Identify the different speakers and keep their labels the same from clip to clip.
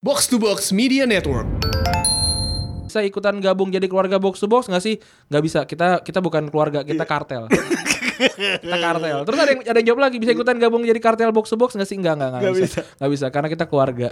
Speaker 1: Box to Box Media Network.
Speaker 2: bisa ikutan gabung jadi keluarga box to box nggak sih nggak bisa kita kita bukan keluarga kita
Speaker 3: Iya.
Speaker 2: kartel kita kartel terus ada yang ada yang jawab lagi bisa ikutan gabung jadi kartel box to box nggak sih nggak nggak nggak
Speaker 3: Nggak
Speaker 2: bisa nggak bisa karena kita keluarga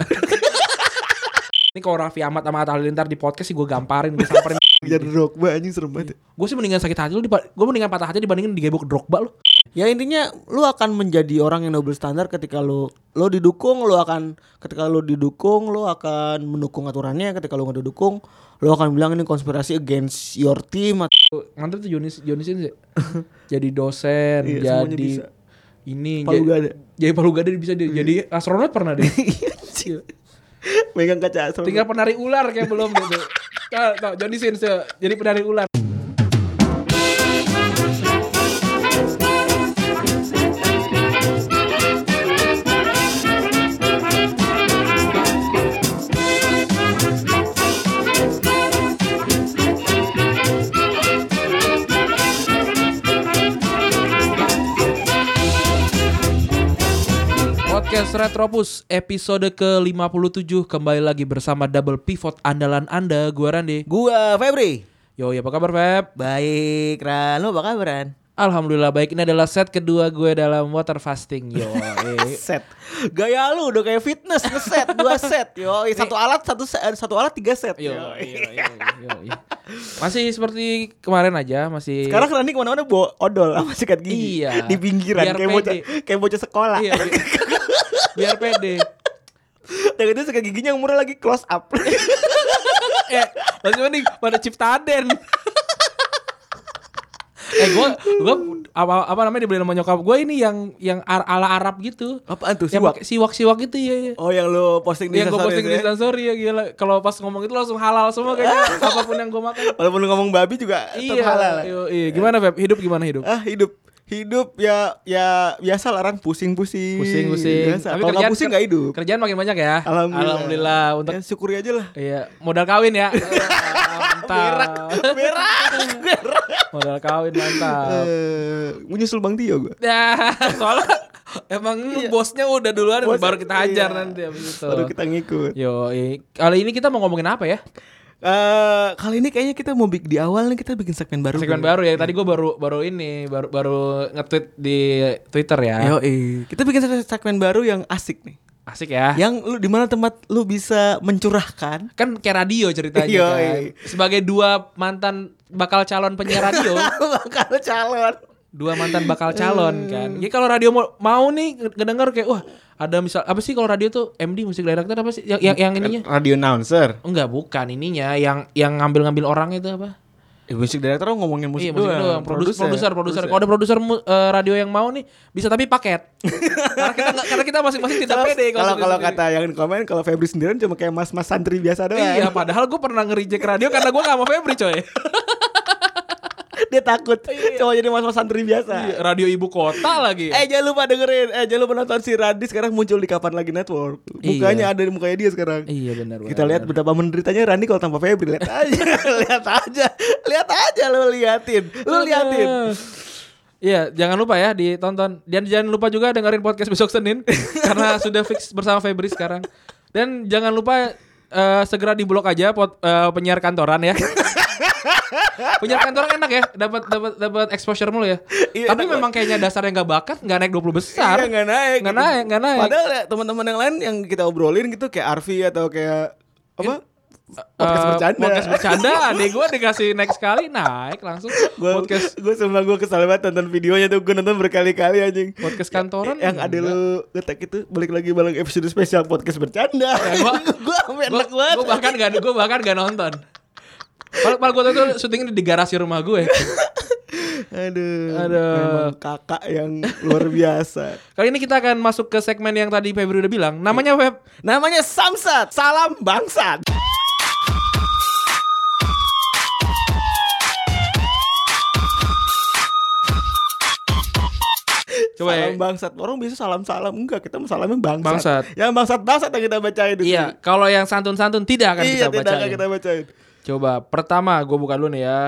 Speaker 2: ini kalau Raffi Ahmad sama Atta Halilintar di podcast sih gue gamparin gue samperin
Speaker 3: Jadi Iya, Drogba anjing serem banget. ya.
Speaker 2: gue sih mendingan sakit hati lu gue mendingan patah hati dibandingin digebuk Drogba lu
Speaker 4: Ya intinya lu akan menjadi orang yang double standar ketika lu lu didukung, lu akan ketika lu didukung, lu akan mendukung aturannya, ketika lu nggak didukung, lu akan bilang ini konspirasi against your team.
Speaker 2: mantep tuh Jonis Jonis ini sih jadi dosen
Speaker 3: Iya, semuanya
Speaker 2: jadi
Speaker 3: bisa.
Speaker 2: ini
Speaker 3: Palu
Speaker 2: jadi-
Speaker 3: gada. Iya.
Speaker 2: jadi palu gada bisa dia- jadi astronot pernah deh
Speaker 4: Iya,
Speaker 2: Gila.
Speaker 3: Megang kaca astronot.
Speaker 2: tinggal penari ular kayak belum gitu Tau, tau, Johnny Sins tuh, jadi penari ular Podcast Retropus episode ke-57 Kembali lagi bersama double pivot andalan anda Gue Randy
Speaker 4: Gua Febri.
Speaker 2: Yo, apa kabar Feb?
Speaker 4: Baik, Ran. Lu apa kabaran?
Speaker 2: Alhamdulillah baik, ini adalah set kedua gue dalam water fasting Yo, eh.
Speaker 4: Set. Gaya lu udah kayak fitness ngeset dua set. Yo, satu alat satu set, satu alat tiga set.
Speaker 2: yo,
Speaker 4: Yo.
Speaker 2: yo, yo, yo, yo. Masih seperti kemarin aja masih
Speaker 3: Sekarang Rani kemana-mana bawa odol sama sikat gigi
Speaker 2: Iya.
Speaker 3: di pinggiran
Speaker 2: Biar
Speaker 3: kayak
Speaker 2: pede.
Speaker 3: bocah kayak bocah sekolah.
Speaker 2: Iya, bi- biar pede
Speaker 3: Dan itu sikat giginya yang murah lagi close up.
Speaker 2: eh masih mending pada Ciptaden eh gue gue apa apa namanya dibeli sama nyokap gue ini yang yang ar- ala Arab gitu
Speaker 3: Apaan tuh
Speaker 2: yang pakai siwak siwak gitu ya, ya.
Speaker 3: Oh yang lu posting di
Speaker 2: yang gue
Speaker 3: instastories
Speaker 2: posting di
Speaker 3: ya?
Speaker 2: instastory ya gila kalau pas ngomong itu langsung halal semua kayaknya apapun yang gue makan
Speaker 3: Walaupun lu ngomong babi juga tetap
Speaker 2: iya,
Speaker 3: halal. ya?
Speaker 2: iya, iya. gimana Feb hidup gimana hidup
Speaker 3: Ah hidup hidup ya ya biasa larang pusing-pusing.
Speaker 2: pusing pusing
Speaker 3: iya, Biasa. Kalau nggak pusing nggak hidup.
Speaker 2: kerjaan makin banyak ya
Speaker 3: Alhamdulillah.
Speaker 2: alhamdulillah untuk
Speaker 3: Ya, syukuri aja lah.
Speaker 2: iya modal kawin ya mantap
Speaker 3: Merah.
Speaker 2: modal kawin mantap
Speaker 3: Eh, Gue nyusul Bang Tio gue.
Speaker 2: Nah, soalnya emang bosnya udah duluan
Speaker 3: Bos-
Speaker 2: baru kita hajar
Speaker 3: iya.
Speaker 2: nanti abis itu.
Speaker 3: Baru kita ngikut.
Speaker 2: Yo, kali ini kita mau ngomongin apa ya?
Speaker 3: Eh, kali ini kayaknya kita mau bik- di awal nih kita bikin segmen baru.
Speaker 2: Segmen
Speaker 3: kali.
Speaker 2: baru ya. Tadi gue baru baru ini baru baru nge-tweet di Twitter ya.
Speaker 3: Iya. Yoi. Kita bikin segmen- segmen baru yang asik nih.
Speaker 2: Asik ya.
Speaker 3: Yang lu di mana tempat lu bisa mencurahkan.
Speaker 2: Kan kayak radio ceritanya
Speaker 3: Iya,
Speaker 2: kan.
Speaker 3: Yoi.
Speaker 2: Sebagai dua mantan bakal calon penyiar radio,
Speaker 3: Bakal calon.
Speaker 2: dua mantan bakal calon
Speaker 3: Hmm.
Speaker 2: kan. Jadi kalau radio mau, mau nih ngedenger kayak wah ada misal apa sih kalau radio tuh MD musik director apa sih yang yang, yang ininya?
Speaker 3: Radio announcer.
Speaker 2: Enggak, bukan ininya yang yang ngambil-ngambil orang itu apa?
Speaker 3: Eh, musik director ngomongin
Speaker 2: iya,
Speaker 3: musik,
Speaker 2: musik doang. Produser, produser, produser. Kalau ada produser mu- eh, radio yang mau nih, bisa tapi paket. karena kita nggak- karena kita masing-masing tidak pede
Speaker 3: Kalau
Speaker 2: sendiri-
Speaker 3: kalau
Speaker 2: sendiri.
Speaker 3: kata ya. yang di komen kalau Febri sendirian cuma kayak mas-mas santri biasa doang.
Speaker 2: Iya, padahal gue pernah nge-reject radio karena gue gak mau Febri coy
Speaker 3: Dia takut cuma jadi mas-mas santri biasa.
Speaker 2: Iya, Radio ibu kota lagi
Speaker 3: Eh jangan lupa dengerin, eh jangan lupa nonton si Radi sekarang muncul di Kapan Lagi Network. Mukanya ada di mukanya dia sekarang.
Speaker 2: Iya benar
Speaker 3: Kita lihat betapa menderitanya Rani kalau tanpa Febri. Lihat aja, lihat aja, lihat aja lu liatin, lu liatin.
Speaker 2: Iya, jangan lupa ya ditonton. Dan jangan lupa juga dengerin podcast besok Senin karena sudah fix bersama Febri sekarang. Dan jangan lupa eh, segera di blok aja pot, eh, penyiar kantoran ya. penyiar kantoran enak ya, dapat dapat dapat exposure mulu ya.
Speaker 3: Iya,
Speaker 2: Tapi
Speaker 3: enak
Speaker 2: memang kayaknya dasarnya nggak bakat, nggak naik 20 besar.
Speaker 3: Iya, nggak naik.
Speaker 2: Nggak naik, nggak naik.
Speaker 3: Padahal ya, teman-teman yang lain yang kita obrolin gitu kayak Arfi atau kayak apa? podcast
Speaker 2: Eh,
Speaker 3: bercanda.
Speaker 2: Podcast bercanda, adek gue dikasih naik sekali, naik langsung.
Speaker 3: Gue
Speaker 2: podcast
Speaker 3: gue sama gue kesal banget nonton videonya tuh gue nonton berkali-kali anjing. Ya,
Speaker 2: podcast kantoran
Speaker 3: yang ada
Speaker 2: enggak. Ya,
Speaker 3: lu ngetek itu balik lagi bareng episode spesial podcast bercanda.
Speaker 2: gua-
Speaker 3: gue enak banget.
Speaker 2: Gue bahkan gak, gue bahkan gak nonton. Mal, mal gue tuh syutingnya di garasi rumah gue.
Speaker 3: Aduh,
Speaker 2: Aduh.
Speaker 3: memang kakak yang luar biasa.
Speaker 2: Kali ini kita akan masuk ke segmen yang tadi Febri udah bilang. Namanya Feb.
Speaker 3: Namanya Samsat, salam bangsat.
Speaker 2: Coba ya.
Speaker 3: salam bangsat. Orang biasa salam-salam enggak, kita mau salamnya bangsat.
Speaker 2: Bangsat.
Speaker 3: Yang bangsat-bangsat yang kita bacain di
Speaker 2: Iya,
Speaker 3: sini.
Speaker 2: kalau yang santun-santun tidak akan kita
Speaker 3: Iya, tidak akan
Speaker 2: bacain.
Speaker 3: kita bacain.
Speaker 2: Coba pertama gue buka dulu nih ya.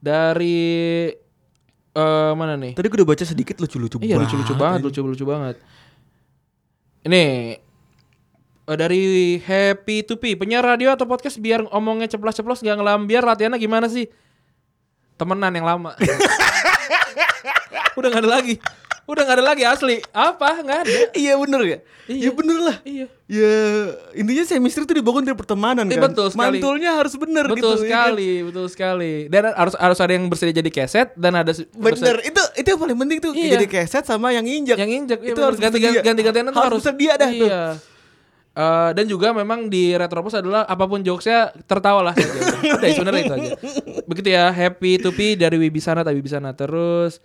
Speaker 2: Dari eh mana nih?
Speaker 3: Tadi gue udah baca Iya, sedikit lucu-lucu
Speaker 2: Iya lucu-lucu banget, lucu-lucu banget. Ini Eh, dari Happy Tupi, penyiar radio atau podcast biar omongnya ceplos-ceplos nggak ngelambiar latihannya gimana sih? Temenan yang lama. Udah nggak ada lagi. Udah nggak ada lagi asli. Apa? Nggak ada.
Speaker 3: Iya bener ya?
Speaker 2: Iya.
Speaker 3: Iya bener lah.
Speaker 2: Iya.
Speaker 3: Ya intinya chemistry itu dibangun dari pertemanan
Speaker 2: Iya,
Speaker 3: kan.
Speaker 2: betul sekali.
Speaker 3: Mantulnya harus bener gitu.
Speaker 2: Betul
Speaker 3: ya kan?
Speaker 2: sekali, betul sekali. Dan harus harus ada yang bersedia jadi keset dan ada se-
Speaker 3: Bener itu itu yang paling penting tuh
Speaker 2: Iya.
Speaker 3: jadi keset sama yang injak.
Speaker 2: yang injek iya
Speaker 3: itu harus
Speaker 2: ganti
Speaker 3: bersedia.
Speaker 2: ganti gantian
Speaker 3: harus bersedia dah tuh.
Speaker 2: iya. Eh, dan juga memang di Retropos adalah apapun jokesnya tertawa lah saja. Udah sebenarnya itu aja. Begitu ya happy tupi dari Wibisana tapi Wibisana terus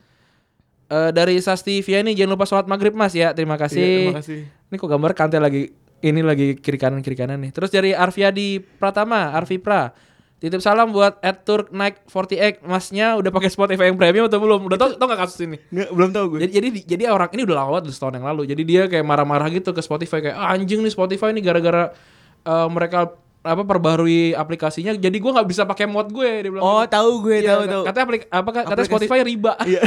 Speaker 2: eh, dari Sasti Viani jangan lupa sholat maghrib mas ya terima kasih.
Speaker 3: Iya, terima kasih.
Speaker 2: Ini kok gambar kante lagi ini lagi kiri kanan kiri kanan nih. Terus dari Arfiadi Pratama Arfi Pra titip salam buat at Turk Nike 48 masnya udah pakai Spotify yang premium atau belum? Udah tau tau nggak kasus ini?
Speaker 3: Nggak, belum tahu gue.
Speaker 2: Jadi jadi jadi orang ini udah lama banget udah setahun yang lalu. Jadi dia kayak marah-marah gitu ke Spotify kayak "Ah, anjing nih Spotify ini gara-gara eh, mereka apa perbarui aplikasinya. Jadi gua nggak bisa pakai mod gue dia bilang.
Speaker 3: oh
Speaker 2: gitu.
Speaker 3: tahu gue
Speaker 2: Iya,
Speaker 3: tahu tahu.
Speaker 2: Katanya aplik- apa katanya
Speaker 3: Aplikasi-
Speaker 2: Spotify riba.
Speaker 3: Iya.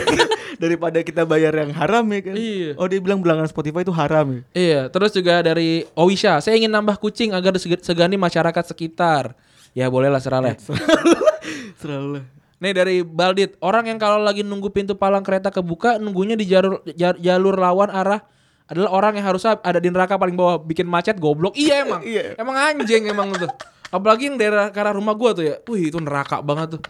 Speaker 3: Daripada kita bayar yang haram ya kan.
Speaker 2: Iya.
Speaker 3: Oh dia bilang bilangan Spotify itu haram ya.
Speaker 2: Iya, terus juga dari Owisha, saya ingin nambah kucing agar seg- segani masyarakat sekitar. Ya bolehlah seraleh.
Speaker 3: Iya, Selalu.
Speaker 2: Nih dari Baldit, orang yang kalau lagi nunggu pintu palang kereta kebuka, nunggunya di jalur jar- jalur lawan arah adalah orang yang harusnya ada di neraka paling bawah bikin macet goblok. Iya emang.
Speaker 3: Iya.
Speaker 2: Emang anjing emang tuh. Apalagi yang daerah ke arah rumah gua tuh ya. Wih, itu neraka banget tuh.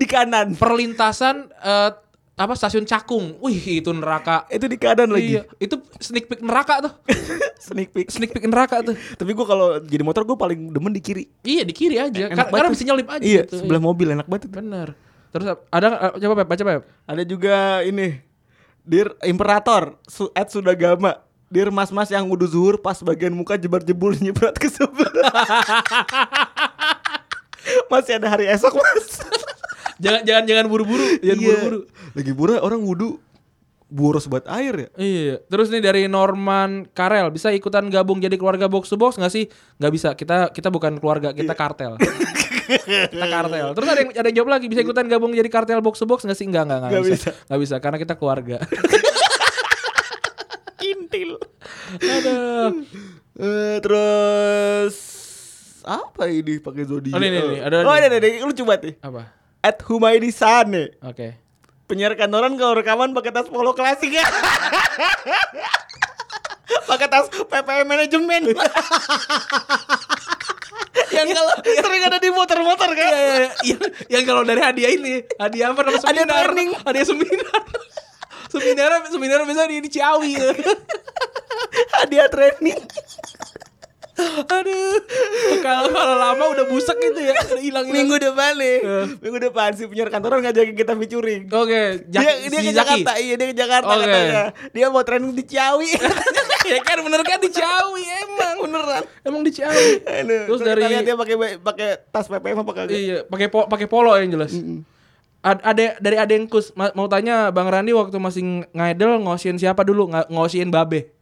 Speaker 3: Di kanan.
Speaker 2: Perlintasan eh, apa stasiun Cakung. Wih, itu neraka.
Speaker 3: Itu di kanan lagi.
Speaker 2: Iya, itu sneak peek neraka tuh.
Speaker 3: Sneak peek.
Speaker 2: Sneak peek neraka tuh.
Speaker 3: Tapi gue kalau jadi motor gue paling demen di kiri.
Speaker 2: Iya, di kiri aja. Kar- karena bisa nyelip aja
Speaker 3: Iya,
Speaker 2: gitu.
Speaker 3: sebelah mobil enak banget itu.
Speaker 2: Bener. Terus ada eh, coba Pep, baca Pep.
Speaker 3: Ada juga ini Dear Imperator su at Sudagama. Dear mas-mas yang wudhu zuhur pas bagian muka jebar-jebul nyebrat ke sebelah. Masih ada hari esok, Mas.
Speaker 2: Jangan jangan jangan buru-buru, jangan
Speaker 3: Iya.
Speaker 2: buru-buru.
Speaker 3: Lagi buru orang wudhu boros buat air ya.
Speaker 2: Iya. Terus nih dari Norman Karel bisa ikutan gabung jadi keluarga box to box nggak sih? Nggak bisa. Kita kita bukan keluarga, kita
Speaker 3: Iya.
Speaker 2: kartel. kita kartel. Terus ada yang ada yang jawab lagi bisa ikutan gabung jadi kartel box to box nggak sih? Nggak nggak nggak
Speaker 3: Nggak
Speaker 2: bisa. Nggak bisa karena kita keluarga.
Speaker 3: Intil.
Speaker 2: Aduh.
Speaker 3: Eh, terus apa ini pakai zodiak?
Speaker 2: Oh, ini, ini, ini, ada
Speaker 3: oh,
Speaker 2: nih.
Speaker 3: ada, ada, ada. Lu coba nih.
Speaker 2: Apa?
Speaker 3: At Humaidi Sane.
Speaker 2: Oke.
Speaker 3: penyiar kantoran kalau rekaman pakai tas polo klasik ya. pakai tas PPM manajemen. yang kalau
Speaker 2: Iya.
Speaker 3: sering ada di motor-motor kan.
Speaker 2: Yang, yang kalau dari hadiah ini, hadiah apa namanya?
Speaker 3: Hadiah
Speaker 2: Seminar.
Speaker 3: training.
Speaker 2: Hadiah seminar. seminar seminar biasanya di, di Ciawi.
Speaker 3: Hadiah training.
Speaker 2: Aduh. Kalau kalau lama udah busek gitu ya, udah hilang Iya. hilang.
Speaker 3: Minggu depan nih. Minggu depan si penyiar kantoran ngajakin kita featuring.
Speaker 2: Oke, Jak-
Speaker 3: dia dia
Speaker 2: si Zaki.
Speaker 3: ke Jakarta, iya dia ke Jakarta
Speaker 2: Oke.
Speaker 3: katanya. Dia mau training di Ciawi.
Speaker 2: ya kan bener kan di Ciawi emang beneran. Emang di Ciawi.
Speaker 3: Aduh,
Speaker 2: Terus
Speaker 3: kita
Speaker 2: dari
Speaker 3: lihat ya, dia pakai pakai tas PPM apa kagak?
Speaker 2: iya pakai po- pakai polo yang jelas. Ad- ada dari ada yang kus Ma- mau tanya Bang Randi waktu masih ng- ngaidel ngosin siapa dulu Nga- ngosin Babe.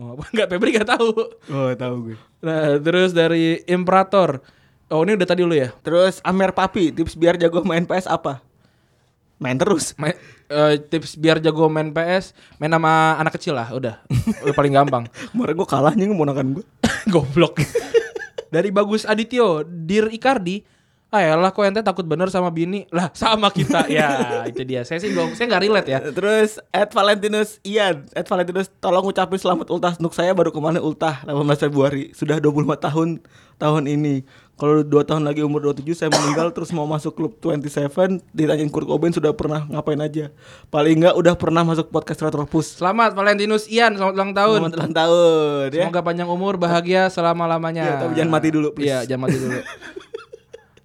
Speaker 2: Oh, apa enggak Febri enggak tahu.
Speaker 3: Oh, tahu gue.
Speaker 2: Nah, terus dari Imperator. Oh, ini udah tadi dulu ya.
Speaker 3: Terus Amer Papi, tips biar jago main PS apa? Main terus.
Speaker 2: Main- eh, tips biar jago main PS main sama anak kecil lah udah udah paling gampang
Speaker 3: Kemarin gue kalahnya ngemonakan gue.
Speaker 2: Goblok. Dari Bagus Adityo, Dir Icardi, ah elah kok ente takut bener sama bini lah sama kita ya itu dia saya sih gak saya nggak relate ya
Speaker 3: Eh, Terus at Valentinus Ian, at Valentinus tolong ucapin selamat ultah nuk saya baru kemarin ultah 18 Februari. Sudah 25 tahun tahun ini. Kalau 2 tahun lagi umur 27 saya meninggal terus mau masuk klub 27 ditanyain Kurt Cobain sudah pernah ngapain aja. Paling enggak udah pernah masuk podcast Retropus.
Speaker 2: selamat Valentinus Ian selamat ulang tahun
Speaker 3: Selamat ulang tahun ya.
Speaker 2: semoga panjang umur bahagia selama
Speaker 3: Iya,
Speaker 2: lamanya
Speaker 3: tapi jangan mati dulu, please.
Speaker 2: iya jangan mati dulu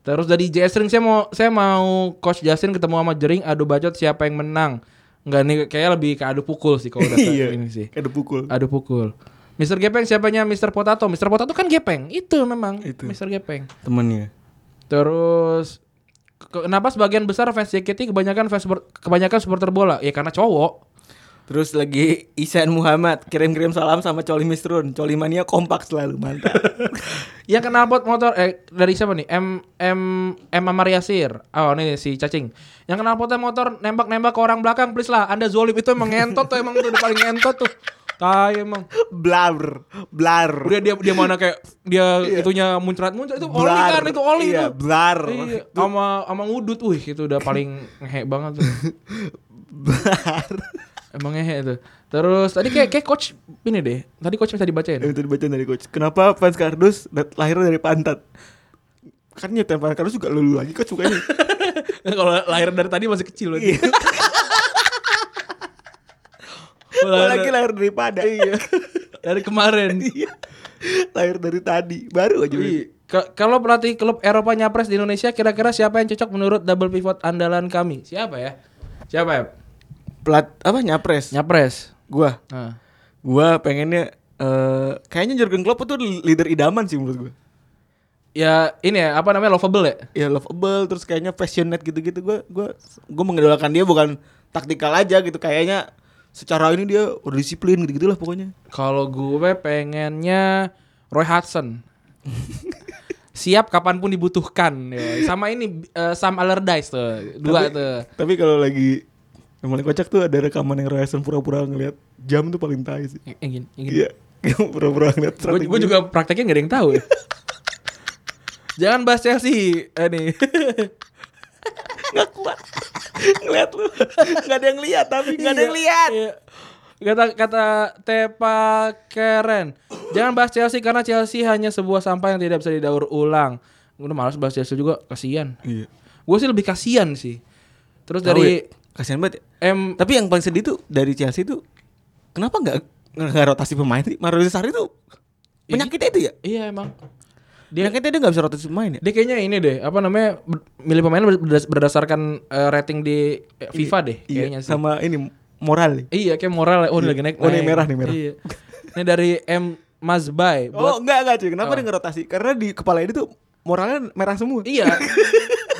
Speaker 2: terus dari Jesring saya mau saya mau coach Justin ketemu sama Jering adu bacot siapa yang menang nggak nih kayak lebih ke adu pukul sih kalau udah
Speaker 3: Iya.
Speaker 2: ini sih Ah.
Speaker 3: Kayak dipukul.
Speaker 2: Aduh pukul. Mister Gepeng siapanya Mister Potato? Mister Potato kan Gepeng. Itu memang
Speaker 3: Itu.
Speaker 2: Mister Gepeng.
Speaker 3: Temennya.
Speaker 2: Terus ke- kenapa sebagian besar fans JKT kebanyakan fans ber- kebanyakan supporter bola? Ya karena cowok.
Speaker 3: Terus lagi Isan Muhammad kirim-kirim salam sama Coli Mistrun. Coli mania kompak selalu mantap.
Speaker 2: Yang kenal pot motor eh dari siapa nih? M M M Mariasir. Oh, ini si Cacing. Yang kenal potnya motor nembak-nembak ke orang belakang, please lah. Anda zolim itu emang ngentot tuh emang tuh udah paling ngentot tuh. Tai emang.
Speaker 3: Blar, blar.
Speaker 2: Udah dia dia mana kayak dia itunya muncrat muncrat itu oli
Speaker 3: Iya. Blar.
Speaker 2: kan itu oli
Speaker 3: Iya,
Speaker 2: itu.
Speaker 3: blar.
Speaker 2: Iya, sama sama ngudut, wih itu udah paling ngehe banget tuh.
Speaker 3: Blar.
Speaker 2: Emang ngehe itu. Terus tadi kayak kayak coach ini deh. Tadi coach bisa dibacain.
Speaker 3: Itu dibaca dari coach. Kenapa fans kardus dat- lahir dari pantat? Kan nyetem fans kardus juga lulu lagi kok sukanya.
Speaker 2: Kalau lahir dari tadi masih kecil berarti.
Speaker 3: Iya.
Speaker 2: Lahir-
Speaker 3: Lagi lahir dari pada. Iya.
Speaker 2: dari kemarin.
Speaker 3: lahir dari tadi. Baru aja.
Speaker 2: Wih, ka- Kalau pelatih klub Eropa nyapres di Indonesia, kira-kira siapa yang cocok menurut double pivot andalan kami? Siapa ya? Siapa ya?
Speaker 3: Plat apa nyapres?
Speaker 2: Nyapres.
Speaker 3: Gua.
Speaker 2: Nah.
Speaker 3: Gua pengennya eh kayaknya Jurgen Klopp tuh leader idaman sih menurut gua.
Speaker 2: Ya ini ya apa namanya lovable ya?
Speaker 3: ya lovable terus kayaknya passionate gitu-gitu gue gue gue mengidolakan dia bukan taktikal aja gitu kayaknya secara ini dia udah disiplin gitu gitulah pokoknya
Speaker 2: Kalau gue pengennya Roy Hudson. Siap kapanpun dibutuhkan. Ya. Sama ini eh, Sam Allardyce tuh dua
Speaker 3: Tapi-
Speaker 2: tuh.
Speaker 3: tapi kalau lagi yang paling kocak tuh ada rekaman yang Ryerson pura-pura ngeliat jam tuh paling tai sih
Speaker 2: Yang- Yang Eh, gini, yang gini.
Speaker 3: iya yang pura-pura ngeliat
Speaker 2: Gue
Speaker 3: strategi
Speaker 2: juga prakteknya gak ada yang tahu. ya. Jangan bahas Chelsea eh, nih.
Speaker 3: nggak kuat ngeliat lu nggak ada yang lihat tapi nggak ada yang lihat
Speaker 2: Iya. Kata kata Tepa Keren. Jangan bahas Chelsea karena Chelsea hanya sebuah sampah yang tidak bisa didaur ulang. Gue udah malas bahas Chelsea juga, kasihan.
Speaker 3: iya
Speaker 2: Gue sih lebih kasihan sih. Terus
Speaker 3: dari
Speaker 2: dari
Speaker 3: kasihan banget ya.
Speaker 2: M
Speaker 3: tapi yang paling sedih tuh dari Chelsea tuh kenapa nggak nggak rotasi pemain sih Mario Sarri tuh penyakitnya itu ya
Speaker 2: Iya emang.
Speaker 3: Dia kayaknya dia gak bisa rotasi pemain ya?
Speaker 2: Dia kayaknya ini deh, apa namanya ber- milih pemain berdas- berdasarkan eh, rating di eh, FIFA deh kayaknya sih.
Speaker 3: iya, Sama ini moral nih.
Speaker 2: Iya kayak moral ya. Oh, ini lagi naik.
Speaker 3: Oh, ini
Speaker 2: naik.
Speaker 3: merah nih, merah.
Speaker 2: Iya. Ini dari M Mazbay buat
Speaker 3: Oh enggak enggak cuy, kenapa dia ngerotasi? Karena di kepala ini tuh moralnya merah semua.
Speaker 2: Iya.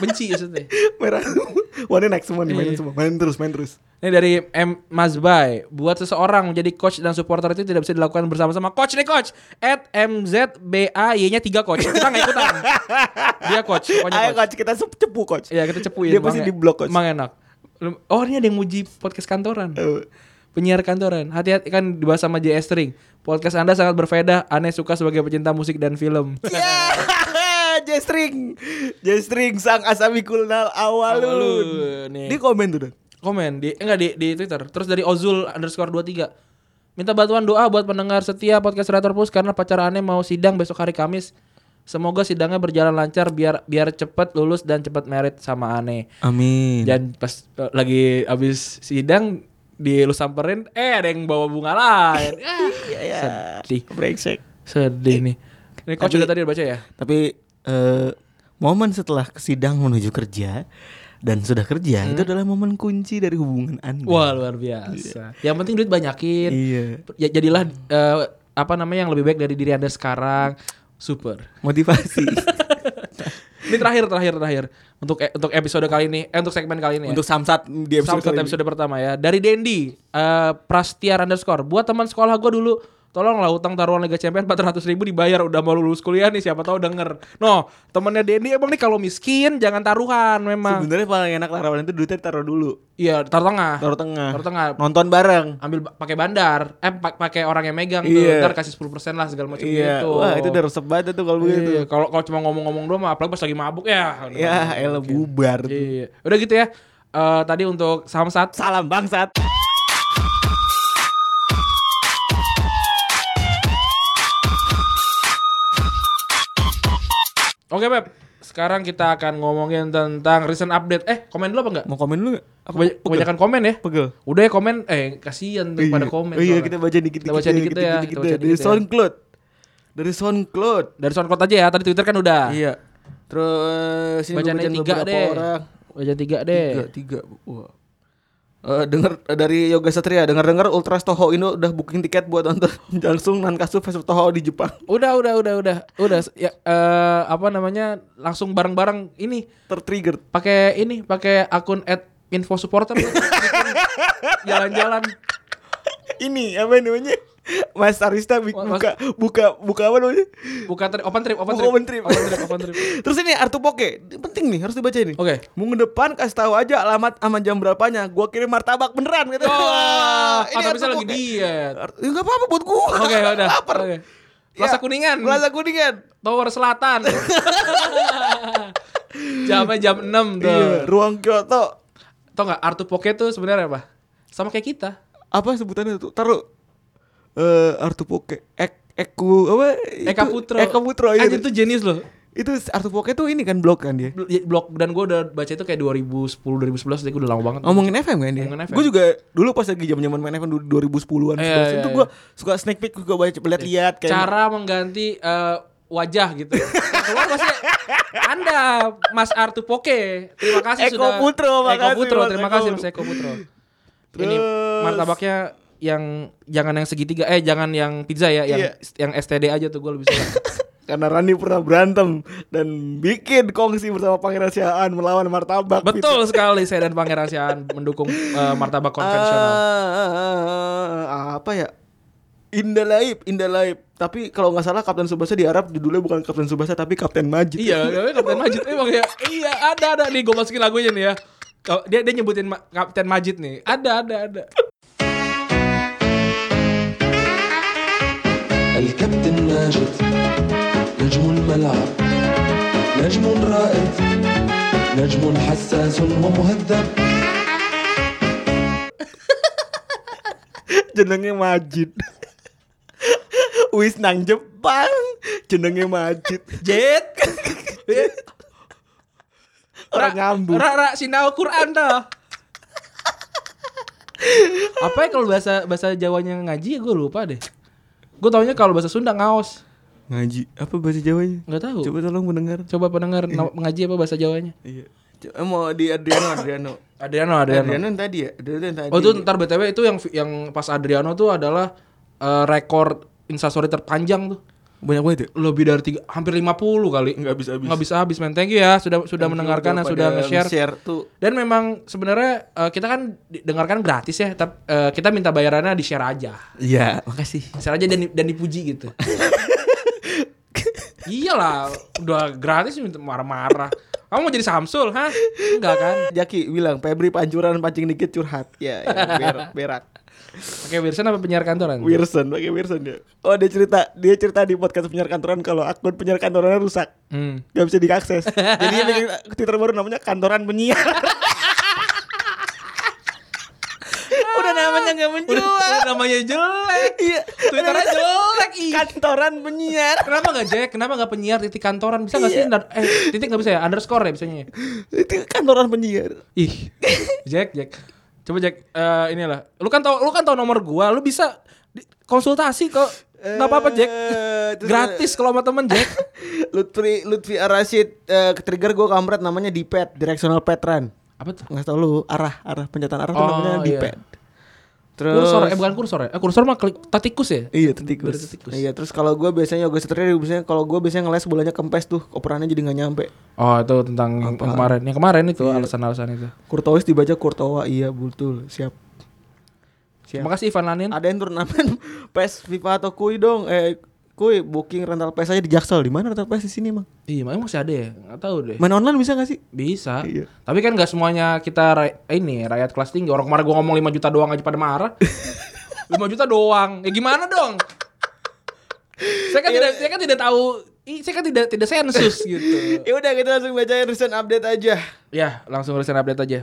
Speaker 2: Benci maksudnya.
Speaker 3: merah semua. Wah ini naik semua nih, mainin
Speaker 2: Iya.
Speaker 3: semua. Main terus, main terus.
Speaker 2: Ini dari M Mazbay. Buat seseorang menjadi coach dan supporter itu tidak bisa dilakukan bersama-sama. Coach nih coach. At MZBA Y-nya 3 coach. Kita gak ikutan. Dia coach. Pokoknya
Speaker 3: Ayo
Speaker 2: coach.
Speaker 3: coach, kita ya. sep- cepu coach.
Speaker 2: Iya kita cepuin.
Speaker 3: Dia pasti
Speaker 2: emang-
Speaker 3: di blok coach.
Speaker 2: Emang enak. Lu- Oh ini ada yang muji podcast kantoran.
Speaker 3: Eh,
Speaker 2: Penyiar kantoran. Hati-hati kan dibahas sama JS String. Podcast Anda sangat berbeda. Aneh suka sebagai pecinta musik dan film.
Speaker 3: Yeah! J-string. J-string sang asami kulnal awalun.
Speaker 2: Awalun, nih.
Speaker 3: Dia komen tuh. Dan.
Speaker 2: komen di eh, enggak di di Twitter. Terus dari Ozul underscore 23. Minta bantuan doa buat pendengar setia podcast Reator Plus karena pacar aneh mau sidang besok hari Kamis. Semoga sidangnya berjalan lancar biar biar cepet lulus dan cepet merit sama aneh.
Speaker 3: Amin.
Speaker 2: Dan pas eh, lagi abis sidang di lu samperin eh ada yang bawa bunga lain. Ah, Sedih.
Speaker 3: Brengsek.
Speaker 2: Sedih nih. Ini coach
Speaker 3: Tapi-
Speaker 2: juga tadi udah baca ya?
Speaker 3: Tapi eh, momen setelah sidang menuju kerja dan sudah kerja itu adalah momen kunci dari hubungan Anda.
Speaker 2: Hmm? Wah, luar biasa. Iya. Yang penting duit banyakin.
Speaker 3: Iya.
Speaker 2: Ya jadilah eh, apa namanya yang lebih baik dari diri Anda sekarang. Super.
Speaker 3: Motivasi.
Speaker 2: Ini terakhir terakhir terakhir untuk eh, untuk episode kali ini, eh, untuk segmen kali ini.
Speaker 3: Untuk samsat di
Speaker 2: ya.
Speaker 3: episode
Speaker 2: Samsat
Speaker 3: kali ini.
Speaker 2: episode pertama ya. Dari Dendi eh, Prastiar underscore. Buat teman sekolah gue dulu Tolonglah utang taruhan Liga Champions 400 ribu dibayar Udah mau lulus kuliah nih siapa tahu denger No temennya Dendi emang nih kalau miskin jangan taruhan memang
Speaker 3: Sebenarnya paling enak larawan itu duitnya taruh dulu,
Speaker 2: Iya taruh tengah
Speaker 3: taruh tengah.
Speaker 2: Taruh tengah
Speaker 3: Nonton bareng.
Speaker 2: Ambil ba- pakai bandar Eh pa- pakai orang yang megang
Speaker 3: Iya.
Speaker 2: tuh Ntar kasih 10% lah segala macam
Speaker 3: Iya.
Speaker 2: gitu
Speaker 3: Wah, itu udah resep banget tuh kalau begitu.
Speaker 2: Iya, Kalau kalau cuma ngomong-ngomong doang mah, Apalagi pas lagi mabuk ya udah
Speaker 3: Ya, elah bubar. tuh.
Speaker 2: Iya. Udah gitu ya. Eh, tadi untuk Samsat
Speaker 3: Salam bangsat.
Speaker 2: Oke Beb Sekarang kita akan ngomongin tentang recent update Eh komen dulu apa enggak?
Speaker 3: Mau komen lu? nggak?
Speaker 2: Kebany- Kebanyakan komen ya
Speaker 3: Pegel.
Speaker 2: Udah ya komen Eh kasihan tuh pada
Speaker 3: Iya.
Speaker 2: komen
Speaker 3: Oh, iya,
Speaker 2: soalnya.
Speaker 3: kita baca dikit
Speaker 2: Kita baca dikit ya, kita baca
Speaker 3: Dari
Speaker 2: dikit ya.
Speaker 3: SoundCloud. Dari SoundCloud.
Speaker 2: Dari SoundCloud aja ya Tadi Twitter kan udah
Speaker 3: Iya. Terus ini
Speaker 2: Bacaan
Speaker 3: gua bacain
Speaker 2: tiga
Speaker 3: beberapa
Speaker 2: deh Eh.
Speaker 3: orang.
Speaker 2: Bacaan tiga
Speaker 3: Tiga,
Speaker 2: deh
Speaker 3: tiga. Wah. Eh, dengar eh, dari Yoga Satria, dengar-dengar Ultras Toho Indo udah booking tiket buat nonton langsung Nankasu versus Toho di Jepang.
Speaker 2: Udah udah udah udah Udah ya, eh, Apa namanya Langsung bareng-bareng Ini
Speaker 3: Tertrigger.
Speaker 2: pakai ini pakai akun at info supporter Bikin Jalan-jalan
Speaker 3: Ini apa namanya? Mas Arista bi-
Speaker 2: Mas-
Speaker 3: buka buka buka apa namanya?
Speaker 2: Buka trip, open trip, open
Speaker 3: Buka
Speaker 2: trip.
Speaker 3: open trip.
Speaker 2: Open trip, open trip.
Speaker 3: Terus ini Artu Poke, penting nih harus dibaca ini.
Speaker 2: Oke.
Speaker 3: Minggu depan kasih tahu aja alamat aman jam berapanya. Gua kirim martabak beneran kata.
Speaker 2: Oh,
Speaker 3: Wah,
Speaker 2: atau
Speaker 3: Artu
Speaker 2: bisa lagi
Speaker 3: Poke.
Speaker 2: diet.
Speaker 3: Ar- Ya enggak apa-apa buat gua.
Speaker 2: Oke, ya udah.
Speaker 3: Lapar.
Speaker 2: Oke. Plaza
Speaker 3: Ya,
Speaker 2: Kuningan.
Speaker 3: Plaza Kuningan.
Speaker 2: Tower Selatan. Jamnya jam 6 tuh.
Speaker 3: Iya, ruang Kyoto.
Speaker 2: Tau gak Artu Poke tuh sebenarnya apa? Sama kayak kita.
Speaker 3: Apa sebutannya tuh? Taruh eh Artu Poke. Ek Eku apa? itu?
Speaker 2: Eka Putro.
Speaker 3: Eka Putro iya.
Speaker 2: Anjir, itu jenius loh.
Speaker 3: Itu Artu Poke tuh ini kan blog kan dia.
Speaker 2: Bl- ya, Blog dan gue udah baca itu kayak 2010 2011 jadi gue udah lama banget.
Speaker 3: Ngomongin FM kan dia.
Speaker 2: Ngomongin FM.
Speaker 3: Gue juga dulu pas lagi zaman-zaman main FM du- 2010-an
Speaker 2: Iya,
Speaker 3: 11-an
Speaker 2: iya,
Speaker 3: tuh
Speaker 2: iya.
Speaker 3: gue suka sneak peek gue baca lihat-lihat Iya, kayak gitu.
Speaker 2: Cara mengganti eh, wajah gitu. Yang Keluar maksudnya Anda Mas Artu Poke. Terima kasih
Speaker 3: Eko
Speaker 2: sudah
Speaker 3: Putro,
Speaker 2: Eko
Speaker 3: makasih,
Speaker 2: Putro,
Speaker 3: Mas
Speaker 2: terima
Speaker 3: Eko.
Speaker 2: kasih Mas Eko Putro. Ini
Speaker 3: Terus.
Speaker 2: martabaknya yang jangan yang segitiga eh jangan yang pizza ya yang
Speaker 3: Iya.
Speaker 2: yang STD aja tuh gue lebih suka.
Speaker 3: karena Rani pernah berantem dan bikin kongsi bersama Pangeran Siaan melawan martabak.
Speaker 2: Betul sekali saya dan Pangeran Siaan mendukung eh, martabak
Speaker 3: Eh,
Speaker 2: konvensional.
Speaker 3: konvensional. apa ya? Indalaib, Indalaib. Tapi kalau nggak salah Kapten Subasa di Arab judulnya bukan Kapten Subasa tapi Kapten Majid.
Speaker 2: iya, namanya Kapten Majid emang ya. Iya, ada ada nih gue masukin lagunya nih ya. Ka- Dia dia nyebutin Ma- Kapten Majid nih. Ada ada ada.
Speaker 1: الكابتن ماجد نجم الملعب نجم رائد نجم حساس ومهذب
Speaker 3: jenenge Majid. Wis nang Jepang, jenenge Majid.
Speaker 2: Jet.
Speaker 3: Orang ngambung.
Speaker 2: Ra ra sinau Quran dah. Apa ya kalau bahasa bahasa Jawanya ngaji gue lupa deh. Gue taunya kalau bahasa Sunda ngaos.
Speaker 3: Ngaji. Apa bahasa Jawanya?
Speaker 2: Nggak tahu.
Speaker 3: Coba tolong mendengar.
Speaker 2: Coba pendengar na- ngaji apa bahasa Jawanya?
Speaker 3: Iya. Co- eh, Mau di Adriano, Adriano.
Speaker 2: Adriano, Adriano.
Speaker 3: Adriano yang tadi ya? Adriano yang tadi.
Speaker 2: Oh itu ntar BTW itu yang yang pas Adriano tuh adalah eh, rekor instastory terpanjang tuh.
Speaker 3: banyak banget ya?
Speaker 2: lebih dari tiga, hampir 50 kali
Speaker 3: Nggak habis-habis.
Speaker 2: nggak bisa habis men thank you ya sudah sudah mendengarkan dan
Speaker 3: Pada
Speaker 2: sudah nge-share
Speaker 3: nge-share tuh.
Speaker 2: dan memang sebenarnya eh, kita kan dengarkan gratis ya tapi kita minta bayarannya di share aja
Speaker 3: Iya, makasih.
Speaker 2: share aja dan di- dan dipuji gitu iyalah udah gratis minta marah-marah kamu mau jadi Samsul hah enggak kan
Speaker 3: Jaki bilang Febri pancuran pancing dikit curhat. Ya, ya, berak, berak.
Speaker 2: pakai Wilson apa penyiar kantoran
Speaker 3: Wilson, pakai Wilson dia. Oh, dia cerita, dia cerita di podcast penyiar kantoran kalau akun penyiar kantorannya rusak.
Speaker 2: Hmm.
Speaker 3: Gak bisa diakses. Jadi dia bikin Twitter baru namanya kantoran penyiar. Udah namanya gak
Speaker 2: Udah, udah namanya jelek
Speaker 3: Iya.
Speaker 2: Twitternya jelek ih.
Speaker 3: Kantoran penyiar.
Speaker 2: Kenapa gak Jack? Kenapa gak penyiar titik kantoran? Bisa gak sih?
Speaker 3: Iya.
Speaker 2: Ndar- Eh, titik gak bisa ya? Underscore ya bisanya ya?
Speaker 3: Itu kantoran penyiar.
Speaker 2: Ih, Jack, Jack. Coba Jack, eh inilah. Lu kan tau, lu kan tau nomor gua. Lu bisa di- konsultasi kok. Nggak apa-apa Jack.
Speaker 3: Eh, terus-
Speaker 2: Gratis kalau sama temen Jack.
Speaker 3: Lutfi Lutfi Arasid eh, ke trigger gue kampret namanya dipad directional pad run
Speaker 2: Apa tuh?
Speaker 3: nggak tau lu arah arah pencetan arah tuh
Speaker 2: Oh,
Speaker 3: namanya
Speaker 2: iya.
Speaker 3: dipad terus
Speaker 2: Kursor, eh bukan kursor ya? Eh, kursor mah klik tatikus ya?
Speaker 3: iya tuh tikus.
Speaker 2: Dari tuh tikus.
Speaker 3: iya terus kalau gue biasanya yoga satria biasanya kalau gue biasanya ngeles bolanya kempes tuh operannya jadi nggak nyampe
Speaker 2: Oh, itu tentang yang kemarin. Yang kemarin itu
Speaker 3: Iya.
Speaker 2: alasan-alasan itu.
Speaker 3: kurtois dibaca kurtowa iya betul siap Siap.
Speaker 2: Terima kasih Ivan Lanin.
Speaker 3: ada yang turnamen pes fifa atau kui dong eh kui booking rental pes aja di jaksel di mana rental pes di sini mang
Speaker 2: Iya, emang masih ada ya? Gak tahu deh.
Speaker 3: main online bisa nggak sih
Speaker 2: Bisa.
Speaker 3: Iya.
Speaker 2: Tapi kan nggak semuanya kita ra- ini rakyat kelas tinggi. Orang kemarin gua ngomong 5 juta doang aja pada marah. 5 juta doang. Ya gimana dong? Saya kan tidak saya kan tidak tahu i- saya kan tidak tidak sensus gitu.
Speaker 3: ya udah kita langsung bacain recent update aja
Speaker 2: Ya, langsung tulisan update aja.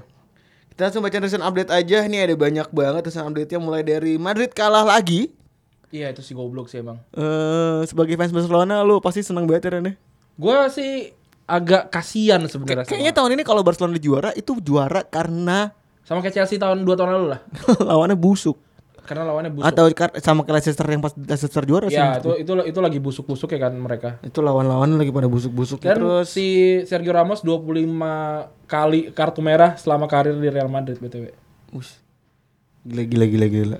Speaker 3: Kita langsung baca recent update aja. Nih ada banyak banget recent update-nya mulai dari Madrid kalah lagi.
Speaker 2: Iya, itu si goblok sih emang.
Speaker 3: Eh sebagai fans Barcelona lu pasti senang banget ya Ren, ya?
Speaker 2: Gua sih agak kasihan sebenarnya
Speaker 3: Kayaknya
Speaker 2: sama,
Speaker 3: tahun ini kalau Barcelona juara itu juara karena
Speaker 2: sama kayak Chelsea tahun 2 tahun lalu lah.
Speaker 3: lawannya busuk.
Speaker 2: Karena lawannya busuk.
Speaker 3: Atau kar- sama kayak Leicester yang pas Leicester juara sih.
Speaker 2: ya,
Speaker 3: menurut
Speaker 2: itu itu itu lagi busuk-busuk ya kan mereka.
Speaker 3: gua. Itu lawan-lawan lagi pada busuk-busuk.
Speaker 2: Dan
Speaker 3: Terus
Speaker 2: si Sergio Ramos 25 kali kartu merah selama karir di Real Madrid BTW.
Speaker 3: Ush. Gila gila gila gila.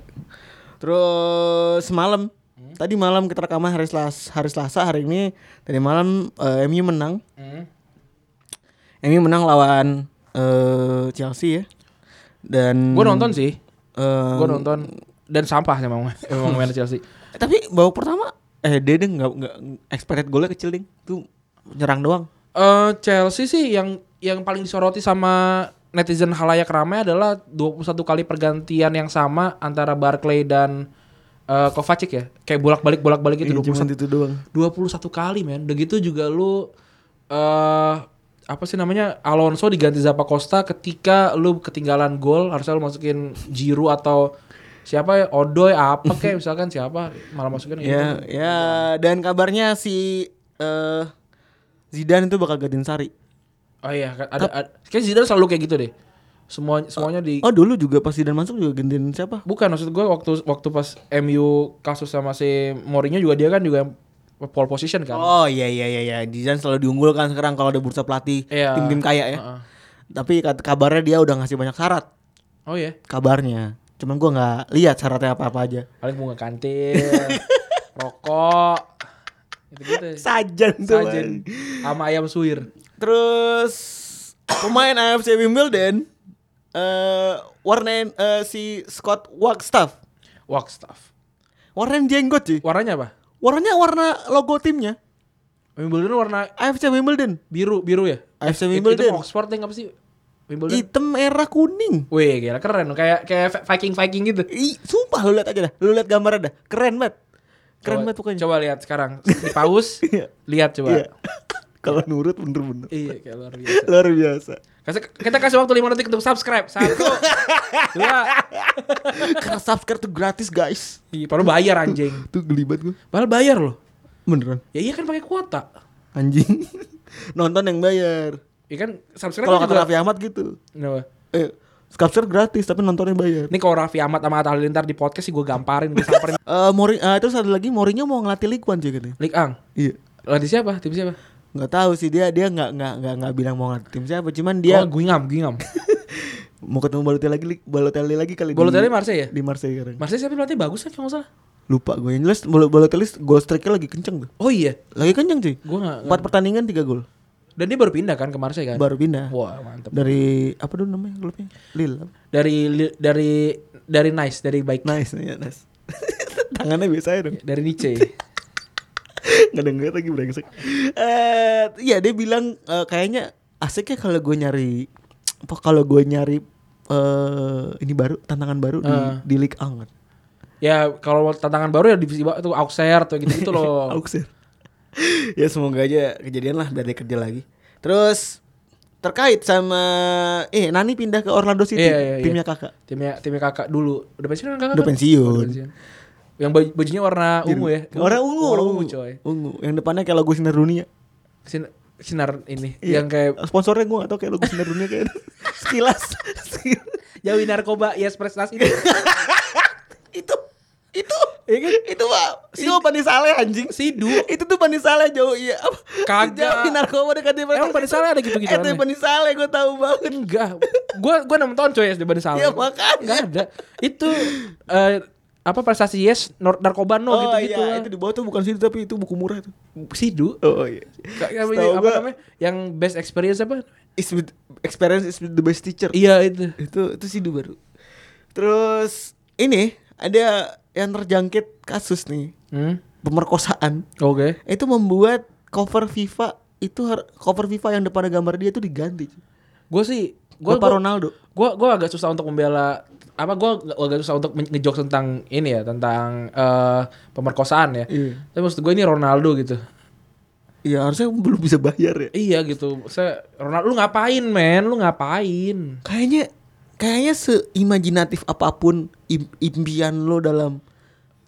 Speaker 3: Terus malam
Speaker 2: Hmm?
Speaker 3: Tadi malam kita rekaman hari Selasa, hari Selasa hari ini tadi malam eh, MU menang.
Speaker 2: Hmm.
Speaker 3: MU menang lawan eh, Chelsea ya. Dan
Speaker 2: Gue nonton sih,
Speaker 3: eh,
Speaker 2: gue nonton. dan sampah memang memang main Chelsea.
Speaker 3: Tapi babak pertama eh dia deh nggak nggak expected golnya kecil ding. Tuh nyerang doang.
Speaker 2: Eh Chelsea sih yang yang paling disoroti sama netizen halayak ramai adalah 21 kali pergantian yang sama antara Barclay dan eh, Kovacic ya. Kayak bolak-balik bolak-balik gitu, itu
Speaker 5: Iya, cuman
Speaker 2: 21
Speaker 5: itu doang.
Speaker 2: 21 kali men. Udah gitu juga lu eh apa sih namanya Alonso diganti Zappacosta ketika lu ketinggalan gol harusnya lu masukin Giroud atau siapa ya Odoi apa kayak misalkan siapa malah masukin gitu.
Speaker 3: Ya, ya dan kabarnya si eh Zidane itu bakal gadin Sari.
Speaker 2: Oh iya kan ada, ada kayak Zidane selalu kayak gitu deh. Semua semuanya di
Speaker 3: Oh dulu juga pas Zidane masuk juga gendin siapa?
Speaker 2: Bukan maksud gue waktu waktu pas MU kasus sama si Mourinho juga dia kan juga pole position kan.
Speaker 3: Oh iya iya iya iya Zidane selalu diunggulkan sekarang kalau ada bursa pelatih
Speaker 2: Iya.
Speaker 3: tim-tim kaya ya.
Speaker 2: Heeh.
Speaker 3: Tapi kat- kabarnya dia udah ngasih banyak syarat
Speaker 2: Oh iya,
Speaker 3: kabarnya. Cuman gua nggak lihat syaratnya apa-apa aja.
Speaker 2: paling bunga kantin, rokok, gitu-gitu.
Speaker 3: Sajen tuh. Bang.
Speaker 2: Sajen sama ayam suwir.
Speaker 3: Terus pemain AFC Wimbledon eh warnain eh, si Scott Wagstaff.
Speaker 2: Work stuff.
Speaker 3: Warnain jenggot sih.
Speaker 2: Warnanya apa?
Speaker 3: Warnanya warna logo timnya
Speaker 2: Wimbledon warna
Speaker 3: AFC Wimbledon.
Speaker 2: biru biru ya. Itu,
Speaker 3: AFC
Speaker 2: itu
Speaker 3: Wimbledon.
Speaker 2: Oxford yang apa sih? Wimbledon.
Speaker 3: Hitam era kuning.
Speaker 2: Wih, gila keren kayak kayak Viking Viking gitu.
Speaker 3: Ih, sumpah lu lihat aja dah. Lu lihat gambarnya dah. Keren banget. Keren
Speaker 2: Coba-
Speaker 3: banget pokoknya.
Speaker 2: Coba lihat sekarang. Di pause. lihat
Speaker 3: Iya.
Speaker 2: coba.
Speaker 3: Kalau nurut bener-bener.
Speaker 2: Iya, kayak luar biasa.
Speaker 3: Luar biasa.
Speaker 2: Kasih, kita kasih waktu 5 detik untuk subscribe. Satu, dua.
Speaker 3: Karena subscribe tuh gratis, guys.
Speaker 2: Ih, Padahal bayar anjing.
Speaker 3: Tuh gelibat gue.
Speaker 2: Padahal bayar loh.
Speaker 3: Beneran.
Speaker 2: Ya iya kan pakai kuota.
Speaker 3: Anjing. Nonton yang bayar.
Speaker 2: Ya kan subscribe
Speaker 3: Kalau
Speaker 2: kan
Speaker 3: kata
Speaker 2: juga-
Speaker 3: Raffi Ahmad gitu.
Speaker 2: Kenapa?
Speaker 3: Eh, subscribe gratis tapi nontonnya bayar.
Speaker 2: Ini kalau Raffi Ahmad sama Atta Halilintar di podcast sih gue gamparin, gue samperin.
Speaker 3: Eh Mori, eh, terus ada lagi Mourinho mau ngelatih League One sih katanya.
Speaker 2: Lik Ang,
Speaker 3: Iya.
Speaker 2: latih siapa? Tim siapa?
Speaker 3: Nggak tahu sih dia dia nggak nggak nggak nggak bilang mau ngelatih tim siapa, cuman dia
Speaker 2: Oh, Guingam, Guingam.
Speaker 3: mau ketemu Balotelli lagi Li- Balotelli lagi kali di-
Speaker 2: Balotelli Marseille ya?
Speaker 3: di Marseille sekarang.
Speaker 2: Marseille siapa pelatih bagus kan kalau nggak salah?
Speaker 3: Lupa gue yang jelas Bal- Balotelli gol strike-nya lagi kenceng tuh.
Speaker 2: Oh iya.
Speaker 3: Lagi kenceng cuy.
Speaker 2: Gue nggak.
Speaker 3: Empat pertandingan tiga gol.
Speaker 2: Dan dia baru pindah kan ke Marseille kan?
Speaker 3: Baru pindah.
Speaker 2: Wah mantep.
Speaker 3: Dari apa dulu namanya klubnya? Lille. apa?
Speaker 2: Dari li- dari dari nice, dari baik,
Speaker 3: Nice, ya, nice. Tangannya biasa aja dong.
Speaker 2: dari Nice.
Speaker 3: nggak denger lagi brengsek. Eh, iya dia bilang eh, kayaknya asiknya kalau gue nyari apa kalau gue nyari eh ini baru tantangan baru di
Speaker 2: Eh.
Speaker 3: di League Ang.
Speaker 2: ya kalau tantangan baru ya divisi bawah tuh Auxerre tuh gitu-gitu loh.
Speaker 3: Auxerre. ya semoga aja kejadian lah dari kerja lagi. Terus terkait sama eh Nani pindah ke Orlando City
Speaker 2: Iya, iya, iya.
Speaker 3: timnya kakak.
Speaker 2: timnya timnya kakak dulu udah pensiun kan kakak
Speaker 3: Udah
Speaker 2: kan?
Speaker 3: pensiun.
Speaker 2: Oh, udah yang baju, bajunya warna ungu ya
Speaker 3: Orang ungu,
Speaker 2: warna ungu coy
Speaker 3: Ungu. Yang depannya kayak logo sinar dunia.
Speaker 2: Sin- sinar ini
Speaker 3: Iya.
Speaker 2: yang kayak
Speaker 3: sponsornya gue atau kayak logo sinar dunia kayak sekilas. sekilas.
Speaker 2: jauhi narkoba yes prestasi
Speaker 3: itu itu
Speaker 2: Iya kan?
Speaker 3: itu pak itu mah Bani Saleh anjing
Speaker 2: Sidu.
Speaker 3: itu tuh Bani Saleh jauh iya apa
Speaker 2: Kagak.
Speaker 3: jauh narkoba dekat dia
Speaker 2: Emang Bani Saleh ada gitu-gitu
Speaker 3: itu
Speaker 2: aneh?
Speaker 3: Bani Saleh gue tahu banget
Speaker 2: enggak gua gua enam tahun coy SD Bani Saleh
Speaker 3: Iya, makanya.
Speaker 2: enggak ada itu eh, apa prestasi yes nor- narkoba no
Speaker 3: oh
Speaker 2: gitu gitu
Speaker 3: iya itu di bawah tuh bukan situ tapi itu buku murah tuh
Speaker 2: sidu
Speaker 3: oh iya
Speaker 2: Kayak apa,
Speaker 3: Setahu
Speaker 2: apa
Speaker 3: gua,
Speaker 2: namanya yang best experience apa
Speaker 3: is with- experience is with the best teacher
Speaker 2: iya itu
Speaker 3: itu itu sidu baru terus ini ada yang terjangkit kasus nih
Speaker 2: hmm?
Speaker 3: pemerkosaan
Speaker 2: oke
Speaker 3: itu membuat cover FIFA itu har- cover FIFA yang depan ada gambar dia tuh diganti
Speaker 2: gue sih gue
Speaker 3: Bapak Ronaldo.
Speaker 2: gue gue agak susah untuk membela apa gue agak susah untuk men- ngejokes tentang ini ya tentang eh, pemerkosaan ya
Speaker 3: Iya.
Speaker 2: tapi maksud gue ini Ronaldo gitu
Speaker 3: Ya harusnya belum bisa bayar ya.
Speaker 2: iya gitu saya Ronaldo lu ngapain men lu ngapain
Speaker 3: Kayaknya kayaknya seimajinatif apapun im- impian lo dalam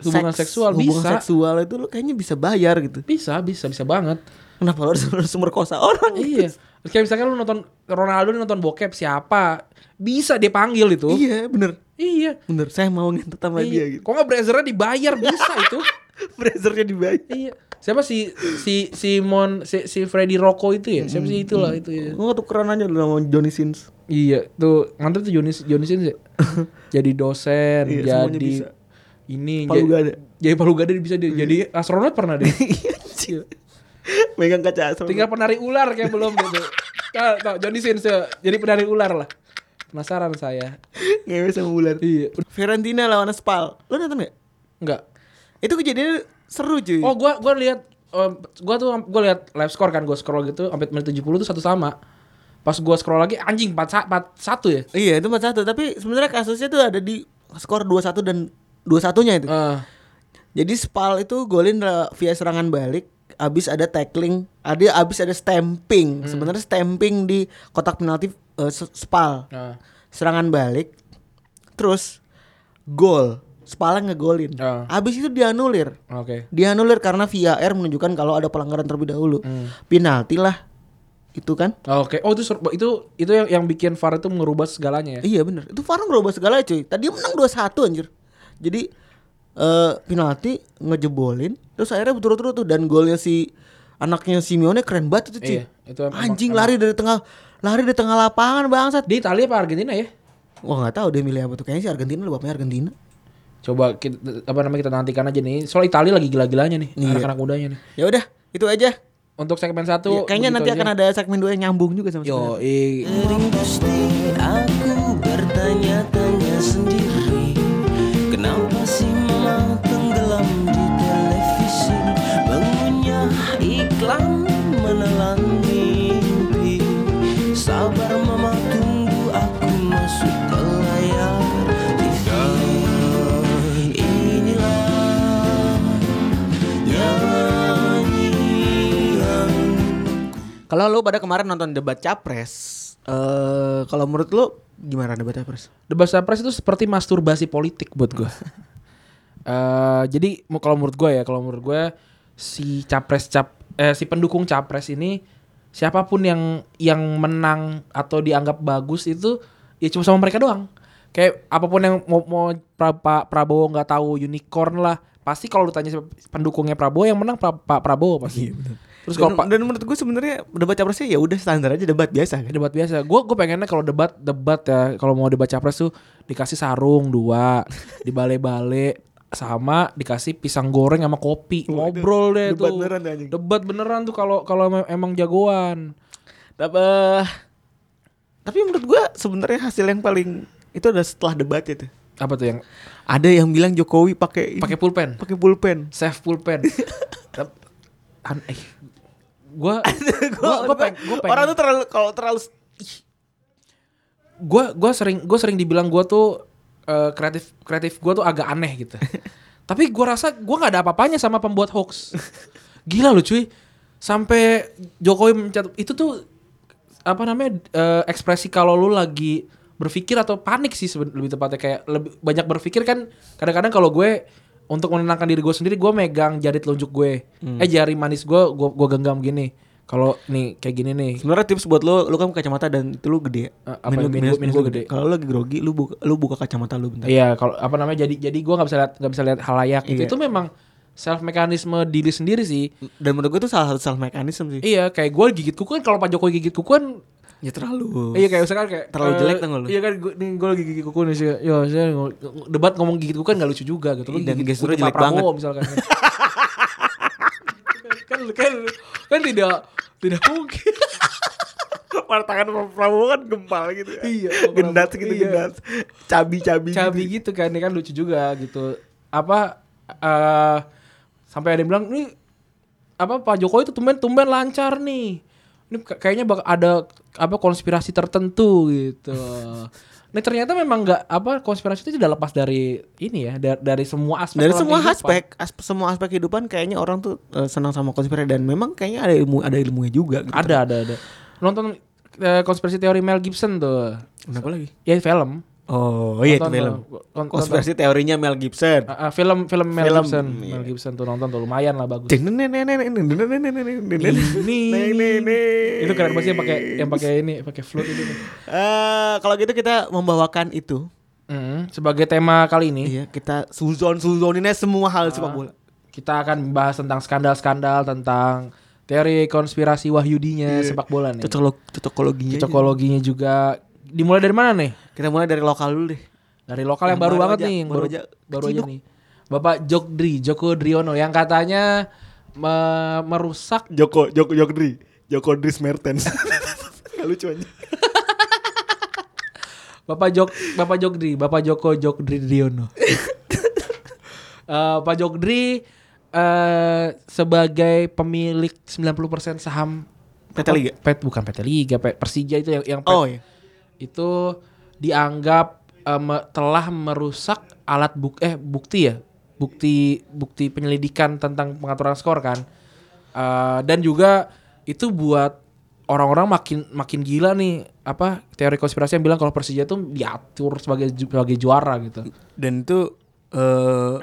Speaker 2: Hubungan seksual
Speaker 3: hubungan
Speaker 2: bisa.
Speaker 3: seksual itu lo kayaknya bisa bayar gitu.
Speaker 2: bisa bisa bisa banget
Speaker 3: Kenapa lo harus, harus merkosa orang? gitu?
Speaker 2: iya kayak misalkan lu nonton Ronaldo nih nonton bokep siapa bisa dia panggil itu
Speaker 3: Iya, bener.
Speaker 2: iya
Speaker 3: Bener, saya mau ngentut sama
Speaker 2: iya.
Speaker 3: dia gitu.
Speaker 2: kok nggak Brazzer-nya dibayar bisa itu
Speaker 3: Browsernya dibayar.
Speaker 2: iya siapa si si Simon si, si Freddy Rocco itu ya siapa sih itulah itu ya
Speaker 3: Gue tukeran aja dulu sama Johnny Sins.
Speaker 2: Iya, tuh mantap tuh Johnny Johnny Sins ya. jadi dosen,
Speaker 3: Iya, semuanya
Speaker 2: jadi
Speaker 3: bisa.
Speaker 2: ini
Speaker 3: Palu
Speaker 2: jadi-
Speaker 3: gada.
Speaker 2: Jadi palu gada dia bisa dia, jadi astronot pernah deh.
Speaker 3: Iya. Megang kaca asrama.
Speaker 2: Tinggal penari ular kayak belum gitu. Tahu tahu Johnny Sins ya, jadi penari ular lah. Penasaran saya.
Speaker 3: Ngewe sama bulan.
Speaker 2: Iya.
Speaker 3: Fiorentina lawan Spal. Lo nonton gak?
Speaker 2: Enggak.
Speaker 3: Itu kejadian seru cuy.
Speaker 2: Oh, gua gua lihat em, gua tuh gua lihat live score kan gua scroll gitu sampai menit 70 tuh satu sama. Pas gua scroll lagi anjing 4 satu ya.
Speaker 3: Iya itu 4-1 tapi sebenarnya kasusnya tuh ada di skor 2-1 dan 2-1-nya itu.
Speaker 2: Eh,
Speaker 3: Jadi Spal itu golin ra- via serangan balik abis ada tackling, ada abis ada stamping.
Speaker 2: Hmm.
Speaker 3: Sebenarnya stamping di kotak penalti eh, S- Spal.
Speaker 2: eh,
Speaker 3: Serangan balik terus gol. Spal ngegolin.
Speaker 2: Ah.
Speaker 3: Abis itu dianulir.
Speaker 2: Oke.
Speaker 3: Dianulir karena VAR menunjukkan kalau ada pelanggaran terlebih dahulu.
Speaker 2: Hmm.
Speaker 3: Penalti lah. Itu kan?
Speaker 2: Oke. Oh, itu sur- itu itu yang yang bikin VAR itu merubah segalanya ya.
Speaker 3: Iya bener Itu VAR ngerubah segala cuy Tadi menang 2-1 anjir Jadi eh penalti ngejebolin Terus akhirnya berturut-turut tuh Dan golnya si Anaknya Simeone keren banget itu cuy
Speaker 2: Iya, itu emang-
Speaker 3: Anjing lari dari tengah Lari dari tengah lapangan bangsat
Speaker 2: Di Italia apa Argentina ya?
Speaker 3: Wah gak tahu dia milih apa tuh Kayaknya si Argentina lu bapaknya Argentina
Speaker 2: Coba kita, apa namanya kita nantikan aja nih. Soal Italia lagi gila-gilanya nih,
Speaker 3: Iya.
Speaker 2: anak-anak mudanya nih.
Speaker 3: Ya udah itu aja
Speaker 2: Untuk segmen satu
Speaker 3: Ya, Kayaknya nanti akan ada segmen 2 yang nyambung juga sama
Speaker 2: Yo,
Speaker 3: segmen
Speaker 6: Sering pasti aku bertanya-tanya sendiri Kenapa sih mau tenggelam di televisi Bangunnya iklan menelan mimpi Sabar mama tunggu aku masuk ke layar TV Inilah nyanyian
Speaker 3: Kalau lu pada kemarin nonton debat capres eh Kalau menurut lu Gimana debat capres?
Speaker 2: debat capres itu seperti masturbasi politik buat gue. Eh jadi mu- kalau menurut gue ya, kalau menurut gue si capres cap eh, si pendukung capres ini siapapun yang yang menang atau dianggap bagus itu ya cuma sama mereka doang. Kayak apapun yang mau, mau pra, Pak Prabowo nggak tahu unicorn lah, pasti kalau lu tanya siapa pendukungnya Prabowo yang menang Pra- Pak Prabowo pasti. Terus
Speaker 3: Terus
Speaker 2: kalau
Speaker 3: dan,
Speaker 2: Pak
Speaker 3: dan menurut gue sebenarnya debat capresnya ya udah standar aja debat biasa kan.
Speaker 2: debat biasa. Gue gue pengennya kalau debat debat ya kalau mau debat capres tuh dikasih sarung dua, dibalik-balik sama dikasih pisang goreng sama kopi ngobrol deh
Speaker 3: debat
Speaker 2: tuh
Speaker 3: beneran tuh, anjing.
Speaker 2: debat beneran tuh kalau kalau em- emang jagoan
Speaker 3: Tapi tapi menurut gue sebenarnya hasil yang paling itu ada setelah debat itu.
Speaker 2: apa tuh yang
Speaker 3: Ada yang bilang Jokowi pakai ini,
Speaker 2: pakai pulpen
Speaker 3: pakai pulpen.
Speaker 2: save pulpen Tep- an eh gue gue gue pengen gue pengen
Speaker 3: Orang tuh terlalu kalau terlalu
Speaker 2: gue gua sering gue sering dibilang gue tuh eh, kreatif kreatif gue tuh agak aneh gitu tapi gue rasa gue nggak ada apa-apanya sama pembuat hoax gila lu cuy sampai Jokowi mencatat itu tuh apa namanya eh, ekspresi kalau lu lagi berpikir atau panik sih seben- lebih tepatnya kayak lebih banyak berpikir kan kadang-kadang kalau gue untuk menenangkan diri gue sendiri gue megang jari telunjuk gue eh jari manis gue gue gue genggam gini kalau nih kayak gini nih
Speaker 3: Sebenarnya tips buat lo, lo kan kacamata dan itu lo gede.
Speaker 2: Eh, apa ya, min gua- min gua gede.
Speaker 3: Kalau lo lagi grogi, lo buka, lo buka kacamata lo bentar.
Speaker 2: Iya, kalau apa namanya jadi jadi gua nggak bisa lihat nggak bisa lihat halayak gitu.
Speaker 3: Iya.
Speaker 2: Itu memang self mekanisme diri sendiri sih.
Speaker 3: Dan menurut gue itu salah satu salah mekanisme sih.
Speaker 2: Iya, kayak gua gigit kuku kan kalau Pak Jokowi gigit kuku kan
Speaker 3: Ya terlalu.
Speaker 2: iya kayak misalkan kayak
Speaker 3: Terlalu
Speaker 2: eh,
Speaker 3: jelek tau nggak lu?
Speaker 2: Iya kan gua, nih gua lagi gigit kuku nih sih. Iya, Yo, saya ngomong- debat ngomong gigit kuku kan nggak lucu juga gitu. Lu
Speaker 3: Iya, dan
Speaker 2: gigit
Speaker 3: gesturnya
Speaker 2: kuku Pak
Speaker 3: jelek banget.
Speaker 2: Prabowo misalkan. kan kan kan tidak tidak mungkin.
Speaker 3: Warna tangan Prabowo kan gempal gitu. kan.
Speaker 2: Iya,
Speaker 3: gendat gitu
Speaker 2: iya.
Speaker 3: gendat. Cabi-cabi.
Speaker 2: cabi gitu kan ini kan lucu juga gitu apa eh sampai ada yang bilang nih apa Pak Jokowi itu tumben tumben lancar nih ini ka- kayaknya bak ada apa konspirasi tertentu gitu Nah ternyata memang nggak apa konspirasi itu tidak lepas dari ini ya da- dari, semua aspek
Speaker 3: dari
Speaker 2: dalam
Speaker 3: semua
Speaker 2: kehidupan.
Speaker 3: aspek asp- semua aspek kehidupan kayaknya orang tuh eh, senang sama konspirasi dan memang kayaknya ada ilmu ada ilmunya juga gitu.
Speaker 2: ada ada ada nonton eh, konspirasi teori Mel Gibson tuh
Speaker 3: kenapa lagi
Speaker 2: ya film
Speaker 3: oh iya itu
Speaker 2: Nonton
Speaker 3: film
Speaker 2: tuh, nonton.
Speaker 3: konspirasi teorinya Mel Gibson
Speaker 2: Ah, ah, film film Mel
Speaker 3: Film,
Speaker 2: Gibson
Speaker 3: iya.
Speaker 2: Mel Gibson tuh nonton tuh lumayan lah bagus
Speaker 3: Deng, neng, neng, neng, neng, neng, neng, neng, neng, neng, neng, neng, neng, neng, neng.
Speaker 2: Itu keren banget sih yang pakai yang pakai ini, pakai flute itu.
Speaker 3: Eh, kalau gitu kita membawakan itu
Speaker 2: Hmm, sebagai tema kali ini
Speaker 3: iya kita suzon suzoninnya semua hal sepak bola
Speaker 2: kita akan membahas tentang skandal-skandal tentang teori konspirasi wahyudinya sepak bola nih.
Speaker 3: Iya. Cocok- cocokologinya aja.
Speaker 2: Cocokologinya juga dimulai dari mana nih?
Speaker 3: kita mulai dari lokal dulu deh
Speaker 2: Dari lokal yang,
Speaker 3: Yang
Speaker 2: baru,
Speaker 3: baru
Speaker 2: banget
Speaker 3: aja,
Speaker 2: nih, yang
Speaker 3: baru
Speaker 2: baru
Speaker 3: aja.
Speaker 2: baru aja
Speaker 3: Keciduk.
Speaker 2: nih. Bapak Jokdri, Joko Driono yang katanya me- merusak
Speaker 3: Joko Joko Jokdri Joko Dris Mertens Gak lucu aja
Speaker 2: Bapak Jok Bapak Jokdri, Bapak Joko Jokdri Driono. Eh, Pak Jokdri eh sebagai pemilik 90% saham
Speaker 3: PT Liga.
Speaker 2: Pet bukan PT Liga, Pet- Persija itu yang yang Pet-
Speaker 4: Oh iya.
Speaker 2: itu dianggap eh, me- telah merusak alat buk eh bukti ya bukti bukti penyelidikan tentang pengaturan skor kan Eh, dan juga itu buat orang-orang makin makin gila nih apa teori konspirasi yang bilang kalau Persija itu diatur sebagai ju- sebagai juara gitu
Speaker 3: Dan itu eh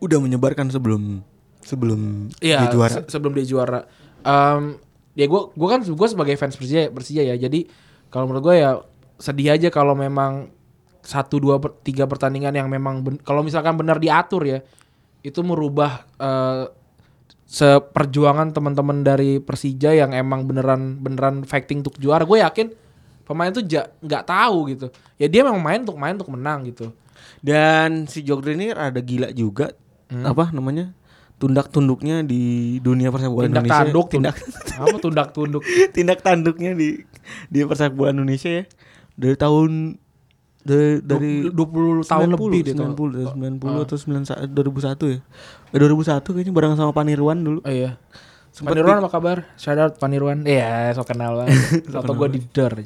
Speaker 3: udah menyebarkan sebelum sebelum
Speaker 2: Iya,
Speaker 3: dia juara.
Speaker 2: se- sebelum dia juara. Em, ya gue gue kan gue sebagai fans Persija Persija ya. Jadi kalau menurut gue ya sedih aja kalau memang satu dua per- tiga pertandingan yang memang ben- kalau misalkan benar diatur ya itu merubah eh, seperjuangan teman-teman dari Persija yang emang beneran beneran fighting untuk juara. Gue yakin pemain tuh ja- nggak tahu gitu. Ya dia memang main untuk main untuk menang gitu.
Speaker 3: Dan si Jogdri ini rada gila juga apa namanya? Tundak-tunduknya di dunia persepak bola
Speaker 2: Tindak
Speaker 3: Indonesia.
Speaker 2: tanduk,
Speaker 3: tindak
Speaker 2: apa tundak tunduk.
Speaker 3: tindak tanduknya di di persepak bola Indonesia ya. Dari tahun dari dari
Speaker 2: 20 tahun lebih deh,
Speaker 3: 90 dari 90 atau 91 2001 ya. Eh, 2001 kayaknya bareng sama Panirwan dulu.
Speaker 2: Oh iya. Panirwan apa kabar? Shout out Panirwan. Iya, so kenal banget. Atau gue di dor.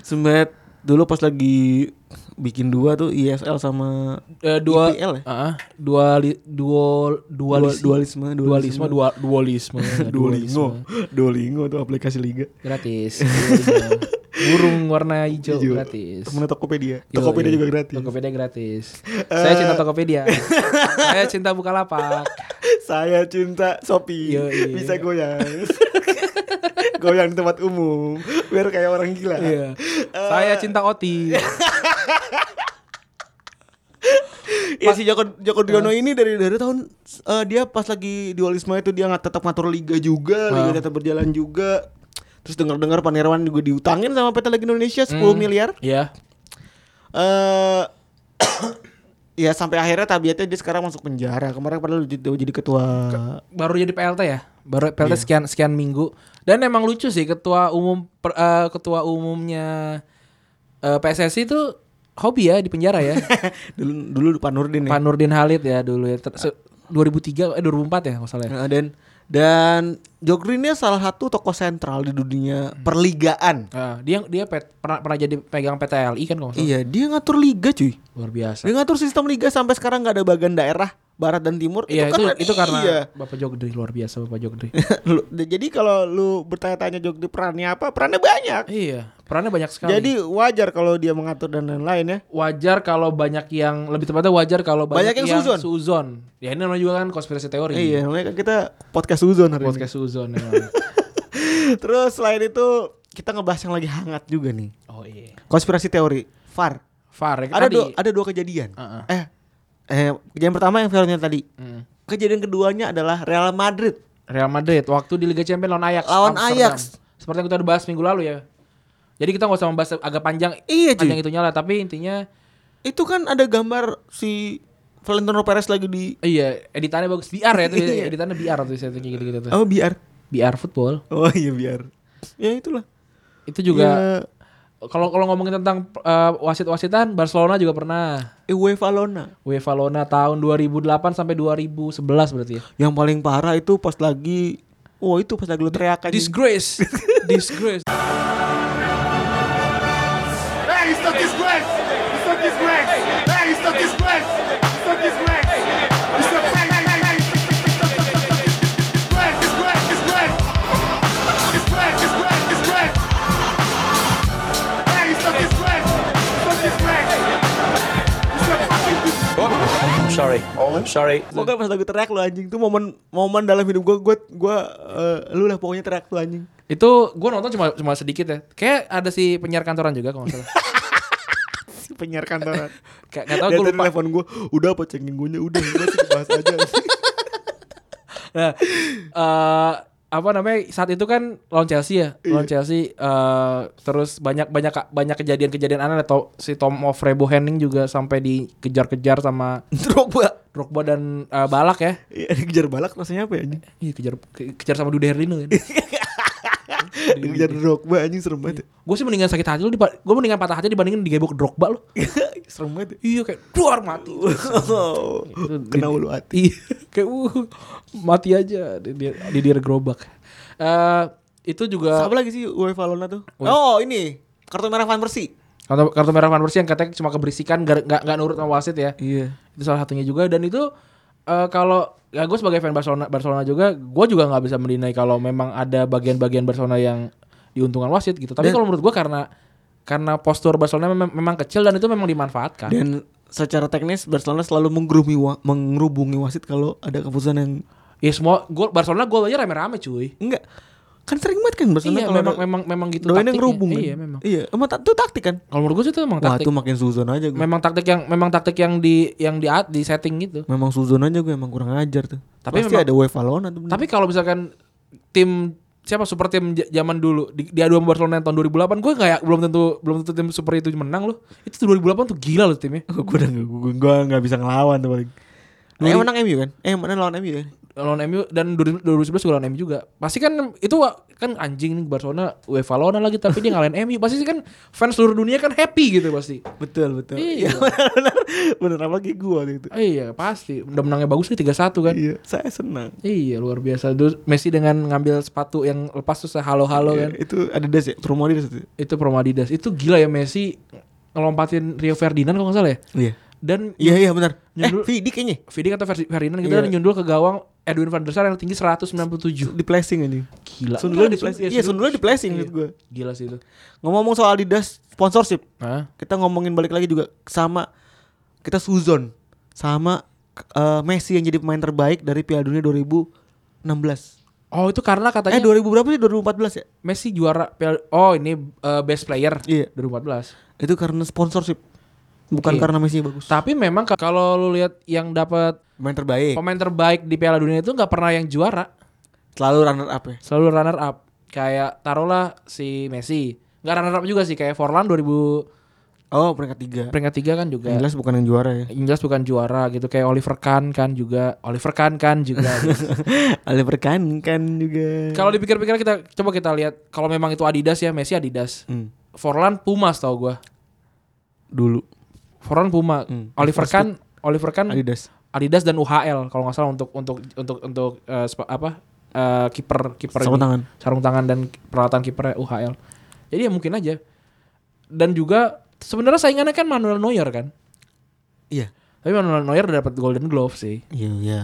Speaker 3: Sempet dulu pas lagi bikin dua tuh ISL sama
Speaker 2: Eh, dua
Speaker 3: IPL ya?
Speaker 2: Heeh. dua li, duo dualis,
Speaker 3: dualisme,
Speaker 2: dualisme,
Speaker 3: dualisme.
Speaker 2: dua, dualisme,
Speaker 3: Duolingo. Duolingo tuh aplikasi liga.
Speaker 2: gratis. Duolingo. Burung warna hijau
Speaker 3: Hijau.
Speaker 2: gratis. iya.
Speaker 3: Temennya Tokopedia.
Speaker 2: Yoi.
Speaker 3: Tokopedia juga gratis.
Speaker 2: Tokopedia gratis. Saya cinta Tokopedia. Saya cinta Bukalapak.
Speaker 3: Saya cinta Shopee.
Speaker 2: Yoi.
Speaker 3: Bisa goyang. goyang di tempat umum. Biar kayak orang gila.
Speaker 2: Iya. Saya cinta Oti.
Speaker 3: Ya si Joko Joko Driono ini dari dari tahun eh, dia pas lagi dualisme itu dia nggak tetap ngatur liga juga, liga tetap berjalan juga. Terus dengar-dengar Panirwan juga diutangin sama PT Liga Indonesia
Speaker 2: Hmm.
Speaker 3: 10 miliar.
Speaker 2: Iya.
Speaker 3: Eh ya sampai akhirnya tabiatnya dia sekarang masuk penjara. Kemarin padahal jadi, jadi ketua
Speaker 2: baru jadi PLT ya baru PLT
Speaker 3: Iya.
Speaker 2: sekian sekian minggu dan emang lucu sih ketua umum per- eh, ketua umumnya eh, PSSI itu hobi ya di penjara ya
Speaker 3: dulu dulu Pak Nurdin ya.
Speaker 2: Pak Nurdin Halid ya dulu ya Ter- se- 2003 eh 2004 ya nggak salah ya.
Speaker 3: Nah, dan dan Jogri ini salah satu tokoh sentral di dunia perligaan.
Speaker 2: Ah, dia dia pet- pernah pernah jadi pegang PTLI kan kalau nggak salah.
Speaker 3: Iya, dia ngatur liga cuy.
Speaker 2: luar biasa
Speaker 3: Dia ngatur sistem liga sampai sekarang nggak ada bagian daerah barat dan timur.
Speaker 2: Iya itu,
Speaker 3: karena
Speaker 2: itu karena
Speaker 3: kan dia. Iya.
Speaker 2: Bapak Jogdri luar biasa Bapak Jogdri.
Speaker 3: Lu- Jadi kalau lu bertanya-tanya Jogri perannya apa? Perannya banyak.
Speaker 2: iya, perannya banyak sekali.
Speaker 3: Jadi wajar kalau dia mengatur dan lain-lain ya.
Speaker 2: wajar kalau banyak yang lebih tepatnya wajar kalau banyak,
Speaker 3: Banyak yang suzon.
Speaker 2: suzon. Ya ini namanya juga kan konspirasi teori.
Speaker 3: Iya, namanya kan kita podcast Suzon hari
Speaker 2: Podcast suzon emang.
Speaker 3: ini. Terus selain itu kita ngebahas yang lagi hangat juga nih.
Speaker 2: Oh iya.
Speaker 3: Konspirasi teori VAR.
Speaker 2: VAR yang
Speaker 3: Ada
Speaker 2: Eh, tadi.
Speaker 3: dua ada dua kejadian.
Speaker 2: Uh-uh.
Speaker 3: Eh eh kejadian pertama yang VAR-nya tadi.
Speaker 2: Mm.
Speaker 3: Kejadian keduanya adalah Real Madrid.
Speaker 2: Real Madrid waktu di Liga Champions lawan Ajax.
Speaker 3: Lawan Ajax.
Speaker 2: Seperti yang kita udah bahas minggu lalu ya. Jadi kita nggak usah membahas agak panjang.
Speaker 3: Iya, cuy.
Speaker 2: panjang itunya lah. Tapi intinya
Speaker 3: Itu kan ada gambar si Valentino Perez lagi di
Speaker 2: iya editannya bagus. BR ya itu
Speaker 3: Iya.
Speaker 2: editannya BR tuh saya gitu gitu tuh.
Speaker 3: Oh biar.
Speaker 2: BR football
Speaker 3: Oh iya biar. Ya itulah.
Speaker 2: itu juga.
Speaker 3: Ya,
Speaker 2: Kalau kalau ngomongin tentang eh, wasit-wasitan Barcelona juga pernah.
Speaker 3: Iya, UEFA Lona.
Speaker 2: UEFA Lona tahun 2008 sampai 2011 berarti ya.
Speaker 3: Yang paling parah itu pas lagi Oh itu pas lagi lu teriak aja.
Speaker 2: Disgrace. Disgrace.
Speaker 7: Hey, he's stuck his legs! He stuck his legs! Hey, he stuck his legs! He stuck his legs! He stuck hey, hey, hey, hey, he stuck- stuck- stuck- stuck- stuck- stuck his- his legs, his legs, his legs! His legs, his legs, his legs! Hey, he stuck his legs! He stuck his legs! He stuck fucking his
Speaker 3: Pokoknya pas lagu teriak lu anjing tuh momen momen dalam hidup gua gua gua eh, lu lah pokoknya teriak tuh anjing.
Speaker 2: itu gue nonton cuma cuma sedikit ya. Kayak ada si penyiar kantoran juga kalau nggak salah.
Speaker 3: Si penyiar kantoran.
Speaker 2: Kayak nggak tahu
Speaker 3: Dia
Speaker 2: gue
Speaker 3: tadi
Speaker 2: lupa.
Speaker 3: telepon Eh, gua, udah apa cengin guanya udah udah sih bahas aja.
Speaker 2: Nah, eh, apa namanya saat itu kan lawan Chelsea ya lawan Chelsea eh, terus banyak banyak banyak kejadian-kejadian aneh atau si Tom of Rebo Henning juga sampai dikejar-kejar sama
Speaker 3: Drogba.
Speaker 2: Drogba dan eh, Balak ya
Speaker 3: Iya dikejar balak rasanya apa ya anjing?
Speaker 2: ya. Ih, kejar ke- kejar sama Dude Herlino kan
Speaker 3: Dikejar Drogba anjing serem banget. ya.
Speaker 2: Gue sih mendingan sakit hati lu, dipa- gue mendingan patah hati dibandingin digebok Drogba lu.
Speaker 3: serem banget.
Speaker 2: Iya
Speaker 3: ya.
Speaker 2: kayak duar mati.
Speaker 3: Oh, kena ulu hati.
Speaker 2: Iya, kayak uh, mati aja di di, di dia gerobak. Eh, itu juga
Speaker 3: Siapa lagi sih UEFA Lona tuh? Oh, ini kartu merah Van Persie.
Speaker 2: kartu, kartu merah Van Persie yang katanya cuma keberisikan gar- nggak nggak nurut sama wasit ya.
Speaker 3: Iya.
Speaker 2: Itu salah satunya juga dan itu eh, kalau ya gue sebagai fan Barcelona Barcelona juga, gue juga nggak bisa menilai kalau memang ada bagian-bagian Barcelona yang diuntungkan wasit gitu. Tapi kalau menurut gue karena karena postur Barcelona mem- memang kecil dan itu memang dimanfaatkan.
Speaker 3: Dan secara teknis Barcelona selalu menggerumi wa- mengerubungi wasit kalau ada keputusan yang
Speaker 2: Ya semua gol Barcelona gol aja rame-rame cuy.
Speaker 3: enggak kan sering banget kan Barcelona
Speaker 2: Iya
Speaker 3: kalau
Speaker 2: memang
Speaker 3: ada-
Speaker 2: memang memang gitu
Speaker 3: doainnya
Speaker 2: taktiknya.
Speaker 3: ngerubung kan?
Speaker 2: Iya memang.
Speaker 3: Iya, emang ta- itu taktik kan?
Speaker 2: Kalau menurut gue sih itu memang
Speaker 3: Wah,
Speaker 2: taktik.
Speaker 3: itu makin suzon aja gue.
Speaker 2: memang taktik yang memang taktik yang di yang di di setting gitu.
Speaker 3: Memang suzon aja gue emang kurang ajar tuh.
Speaker 2: Tapi
Speaker 3: Tapi Pasti
Speaker 2: memang-
Speaker 3: ada UEFA Lona tuh. bener.
Speaker 2: Tapi kalau misalkan tim siapa super tim j- zaman dulu di, diadu sama Barcelona yang tahun 2008 gue kayak ya, belum tentu belum tentu tim super itu menang loh. Itu 2008 tuh gila loh timnya.
Speaker 3: gue udah gue gue nggak bisa ngelawan tuh paling. Eh menang MU kan? Eh mana lawan MU kan?
Speaker 2: Lawan MU dan 2000 2011 gue lawan MU juga. Pasti kan itu wa- kan anjing nih Barcelona UEFA Lona lagi tapi dia ngalahin MU. Pasti sih kan fans seluruh dunia kan happy gitu pasti.
Speaker 3: Betul betul.
Speaker 2: Iya.
Speaker 3: Iya benar benar apalagi gue waktu itu.
Speaker 2: Iya, pasti. Udah menangnya bagus nih 3-1 kan.
Speaker 3: Iya saya senang.
Speaker 2: Iya luar biasa. Terus Messi dengan ngambil sepatu yang lepas tuh halo-halo kan.
Speaker 3: Itu ada das ya, promo Adidas itu.
Speaker 2: Itu promo Adidas. Itu gila ya Messi ngelompatin Rio Ferdinand kalau nggak salah ya.
Speaker 3: Iya.
Speaker 2: Dan
Speaker 3: Iya iya benar. Eh
Speaker 2: Nyundul-
Speaker 3: Vidi kayaknya
Speaker 2: Vidi kata Fer- Ferdinand gitu
Speaker 3: Iya.
Speaker 2: dan nyundul ke gawang Edwin van der Sar yang tinggi 197.
Speaker 3: di placing anjing.
Speaker 2: Gila. Enggak,
Speaker 3: Sundulnya di placing.
Speaker 2: sundul-
Speaker 3: Iya sundulnya di placing
Speaker 2: Iya.
Speaker 3: menurut gue.
Speaker 2: Gila sih itu.
Speaker 3: Ngomong-ngomong soal Adidas sponsorship,
Speaker 2: Hah?
Speaker 3: kita ngomongin balik lagi juga sama kita suzon sama eh, Messi yang jadi pemain terbaik dari Piala Dunia 2016.
Speaker 2: Oh itu karena katanya
Speaker 3: Eh 2000 berapa sih? 2014 ya?
Speaker 2: Messi juara Piala- Oh ini uh, best player
Speaker 3: Iya.
Speaker 2: 2014.
Speaker 3: Itu karena sponsorship. Bukan
Speaker 2: Oke.
Speaker 3: karena Messi bagus.
Speaker 2: Tapi memang ka- kalau lu lihat yang dapat
Speaker 3: Pemain terbaik.
Speaker 2: pemain terbaik di Piala Dunia itu nggak pernah yang juara.
Speaker 3: Selalu runner up ya.
Speaker 2: selalu runner up kayak taruhlah si Messi nggak runner up juga sih kayak Forlan 2000
Speaker 3: Oh peringkat tiga.
Speaker 2: peringkat tiga kan juga
Speaker 3: Yang jelas bukan yang juara ya.
Speaker 2: Yang jelas bukan juara gitu kayak Oliver Kahn kan juga Oliver Kahn kan juga
Speaker 3: Oliver Kahn kan juga.
Speaker 2: kalau dipikir-pikir kita coba kita lihat kalau memang itu Adidas ya Messi Adidas
Speaker 3: Hmm,
Speaker 2: Forlan Pumas tau gua
Speaker 3: dulu
Speaker 2: Forlan Puma
Speaker 3: Hmm.
Speaker 2: Oliver
Speaker 3: First
Speaker 2: Kahn Oliver Kahn
Speaker 3: Adidas.
Speaker 2: Adidas dan UHL kalau nggak salah untuk untuk untuk untuk eh, spa- apa eh, kiper kiper
Speaker 3: Sarung
Speaker 2: ini.
Speaker 3: tangan.
Speaker 2: sarung tangan dan peralatan kiper UHL. Jadi ya mungkin aja. Dan juga sebenarnya saingannya kan Manuel Neuer kan.
Speaker 3: Iya.
Speaker 2: Tapi Manuel Neuer udah dapat Golden Glove sih.
Speaker 3: Iya iya.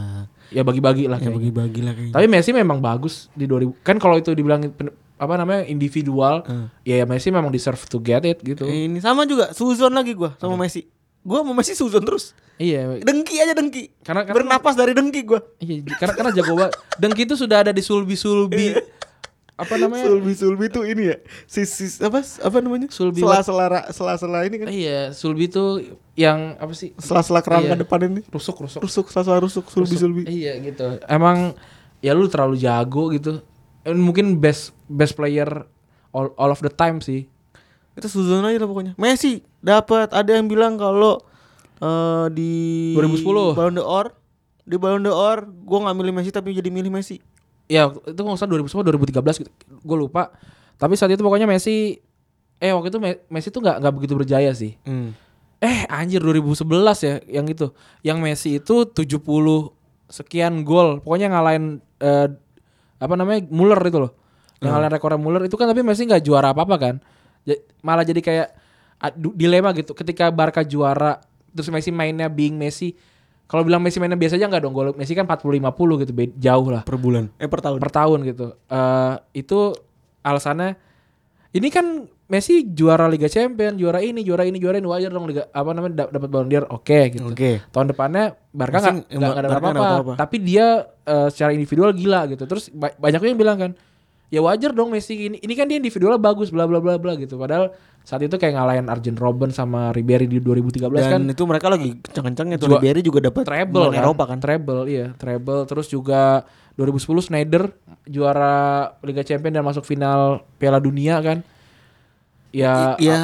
Speaker 2: Ya bagi-bagi lah
Speaker 3: Ya
Speaker 2: kayaknya.
Speaker 3: bagi-bagi lah kayaknya.
Speaker 2: Tapi Messi memang bagus di 2000. Kan kalau itu dibilang pen- apa namanya individual,
Speaker 3: Hmm.
Speaker 2: ya, ya
Speaker 3: Iya.
Speaker 2: Messi memang deserve to get it gitu.
Speaker 3: Ini sama juga Suzon lagi gua sama Messi. Gua sama Messi Suzon terus.
Speaker 2: Iya.
Speaker 3: Dengki aja dengki.
Speaker 2: Karena- karena-
Speaker 3: bernapas dari dengki gua.
Speaker 2: Iya, karena karena jago banget. Dengki itu sudah ada di sulbi-sulbi. apa namanya?
Speaker 3: Sulbi Sulbi tuh ini ya. Sisis apa apa namanya?
Speaker 2: Sulbi
Speaker 3: Sela-sela sela-sela ini kan.
Speaker 2: Iya, Sulbi tuh yang apa sih?
Speaker 3: Sela-sela kerangka
Speaker 2: Iya.
Speaker 3: depan ini.
Speaker 2: Rusuk, rusuk.
Speaker 3: Rusuk, sela-sela rusuk, Sulbi
Speaker 2: rusuk.
Speaker 3: Sulbi.
Speaker 2: Iya gitu. Emang ya lu terlalu jago gitu. Eh, Mungkin best best player all, all of the time sih.
Speaker 3: Itu Suzon aja lah pokoknya. Messi dapat ada yang bilang kalau eh, di
Speaker 2: 2010.
Speaker 3: Ballon d'Or di Ballon d'Or gua nggak milih Messi tapi jadi milih Messi.
Speaker 2: Ya itu kalau nggak salah 2010 2013 gitu. Gue lupa. Tapi saat itu pokoknya Messi eh waktu itu Me- Messi tuh nggak nggak begitu berjaya sih. Eh anjir 2011 ya yang itu. Yang Messi itu 70 sekian gol. Pokoknya ngalahin eh, apa namanya Muller itu loh. Yang ngalahin rekornya Muller itu kan tapi Messi nggak juara apa-apa kan. Ja- Malah jadi kayak adu- dilema gitu ketika Barca juara terus Messi mainnya being Messi. Kalau bilang Messi mainnya biasa aja nggak dong. Gol Messi kan 40 50 gitu be- jauh lah
Speaker 3: Per bulan. Eh per tahun.
Speaker 2: per tahun gitu. Eh itu alasannya ini kan Messi juara Liga Champion, juara ini, juara ini, juara ini, wajar dong Liga apa namanya dap- dapat Ballon d'Or, oke gitu.
Speaker 3: Oke.
Speaker 2: Tahun depannya Barca
Speaker 3: Messi
Speaker 2: nggak nggak
Speaker 3: nggak-
Speaker 2: ada
Speaker 3: Barca nggak dapat
Speaker 2: apa-apa,
Speaker 3: apa-apa.
Speaker 2: tapi dia eh, secara individual gila gitu. Terus ba- banyak yang bilang kan, ya wajar dong Messi ini, ini kan dia individualnya bagus, bla bla bla bla gitu. Padahal saat itu kayak ngalahin Arjen Robben sama Ribery di 2013 kan
Speaker 3: Dan itu mereka lagi kencang-kencangnya tuh
Speaker 2: Juga-
Speaker 3: Ribery juga dapat
Speaker 2: treble kan?
Speaker 3: Eropa kan.
Speaker 2: Treble iya, treble terus juga 2010 Schneider juara Liga Champions dan masuk final Piala Dunia kan. Ya,
Speaker 3: ya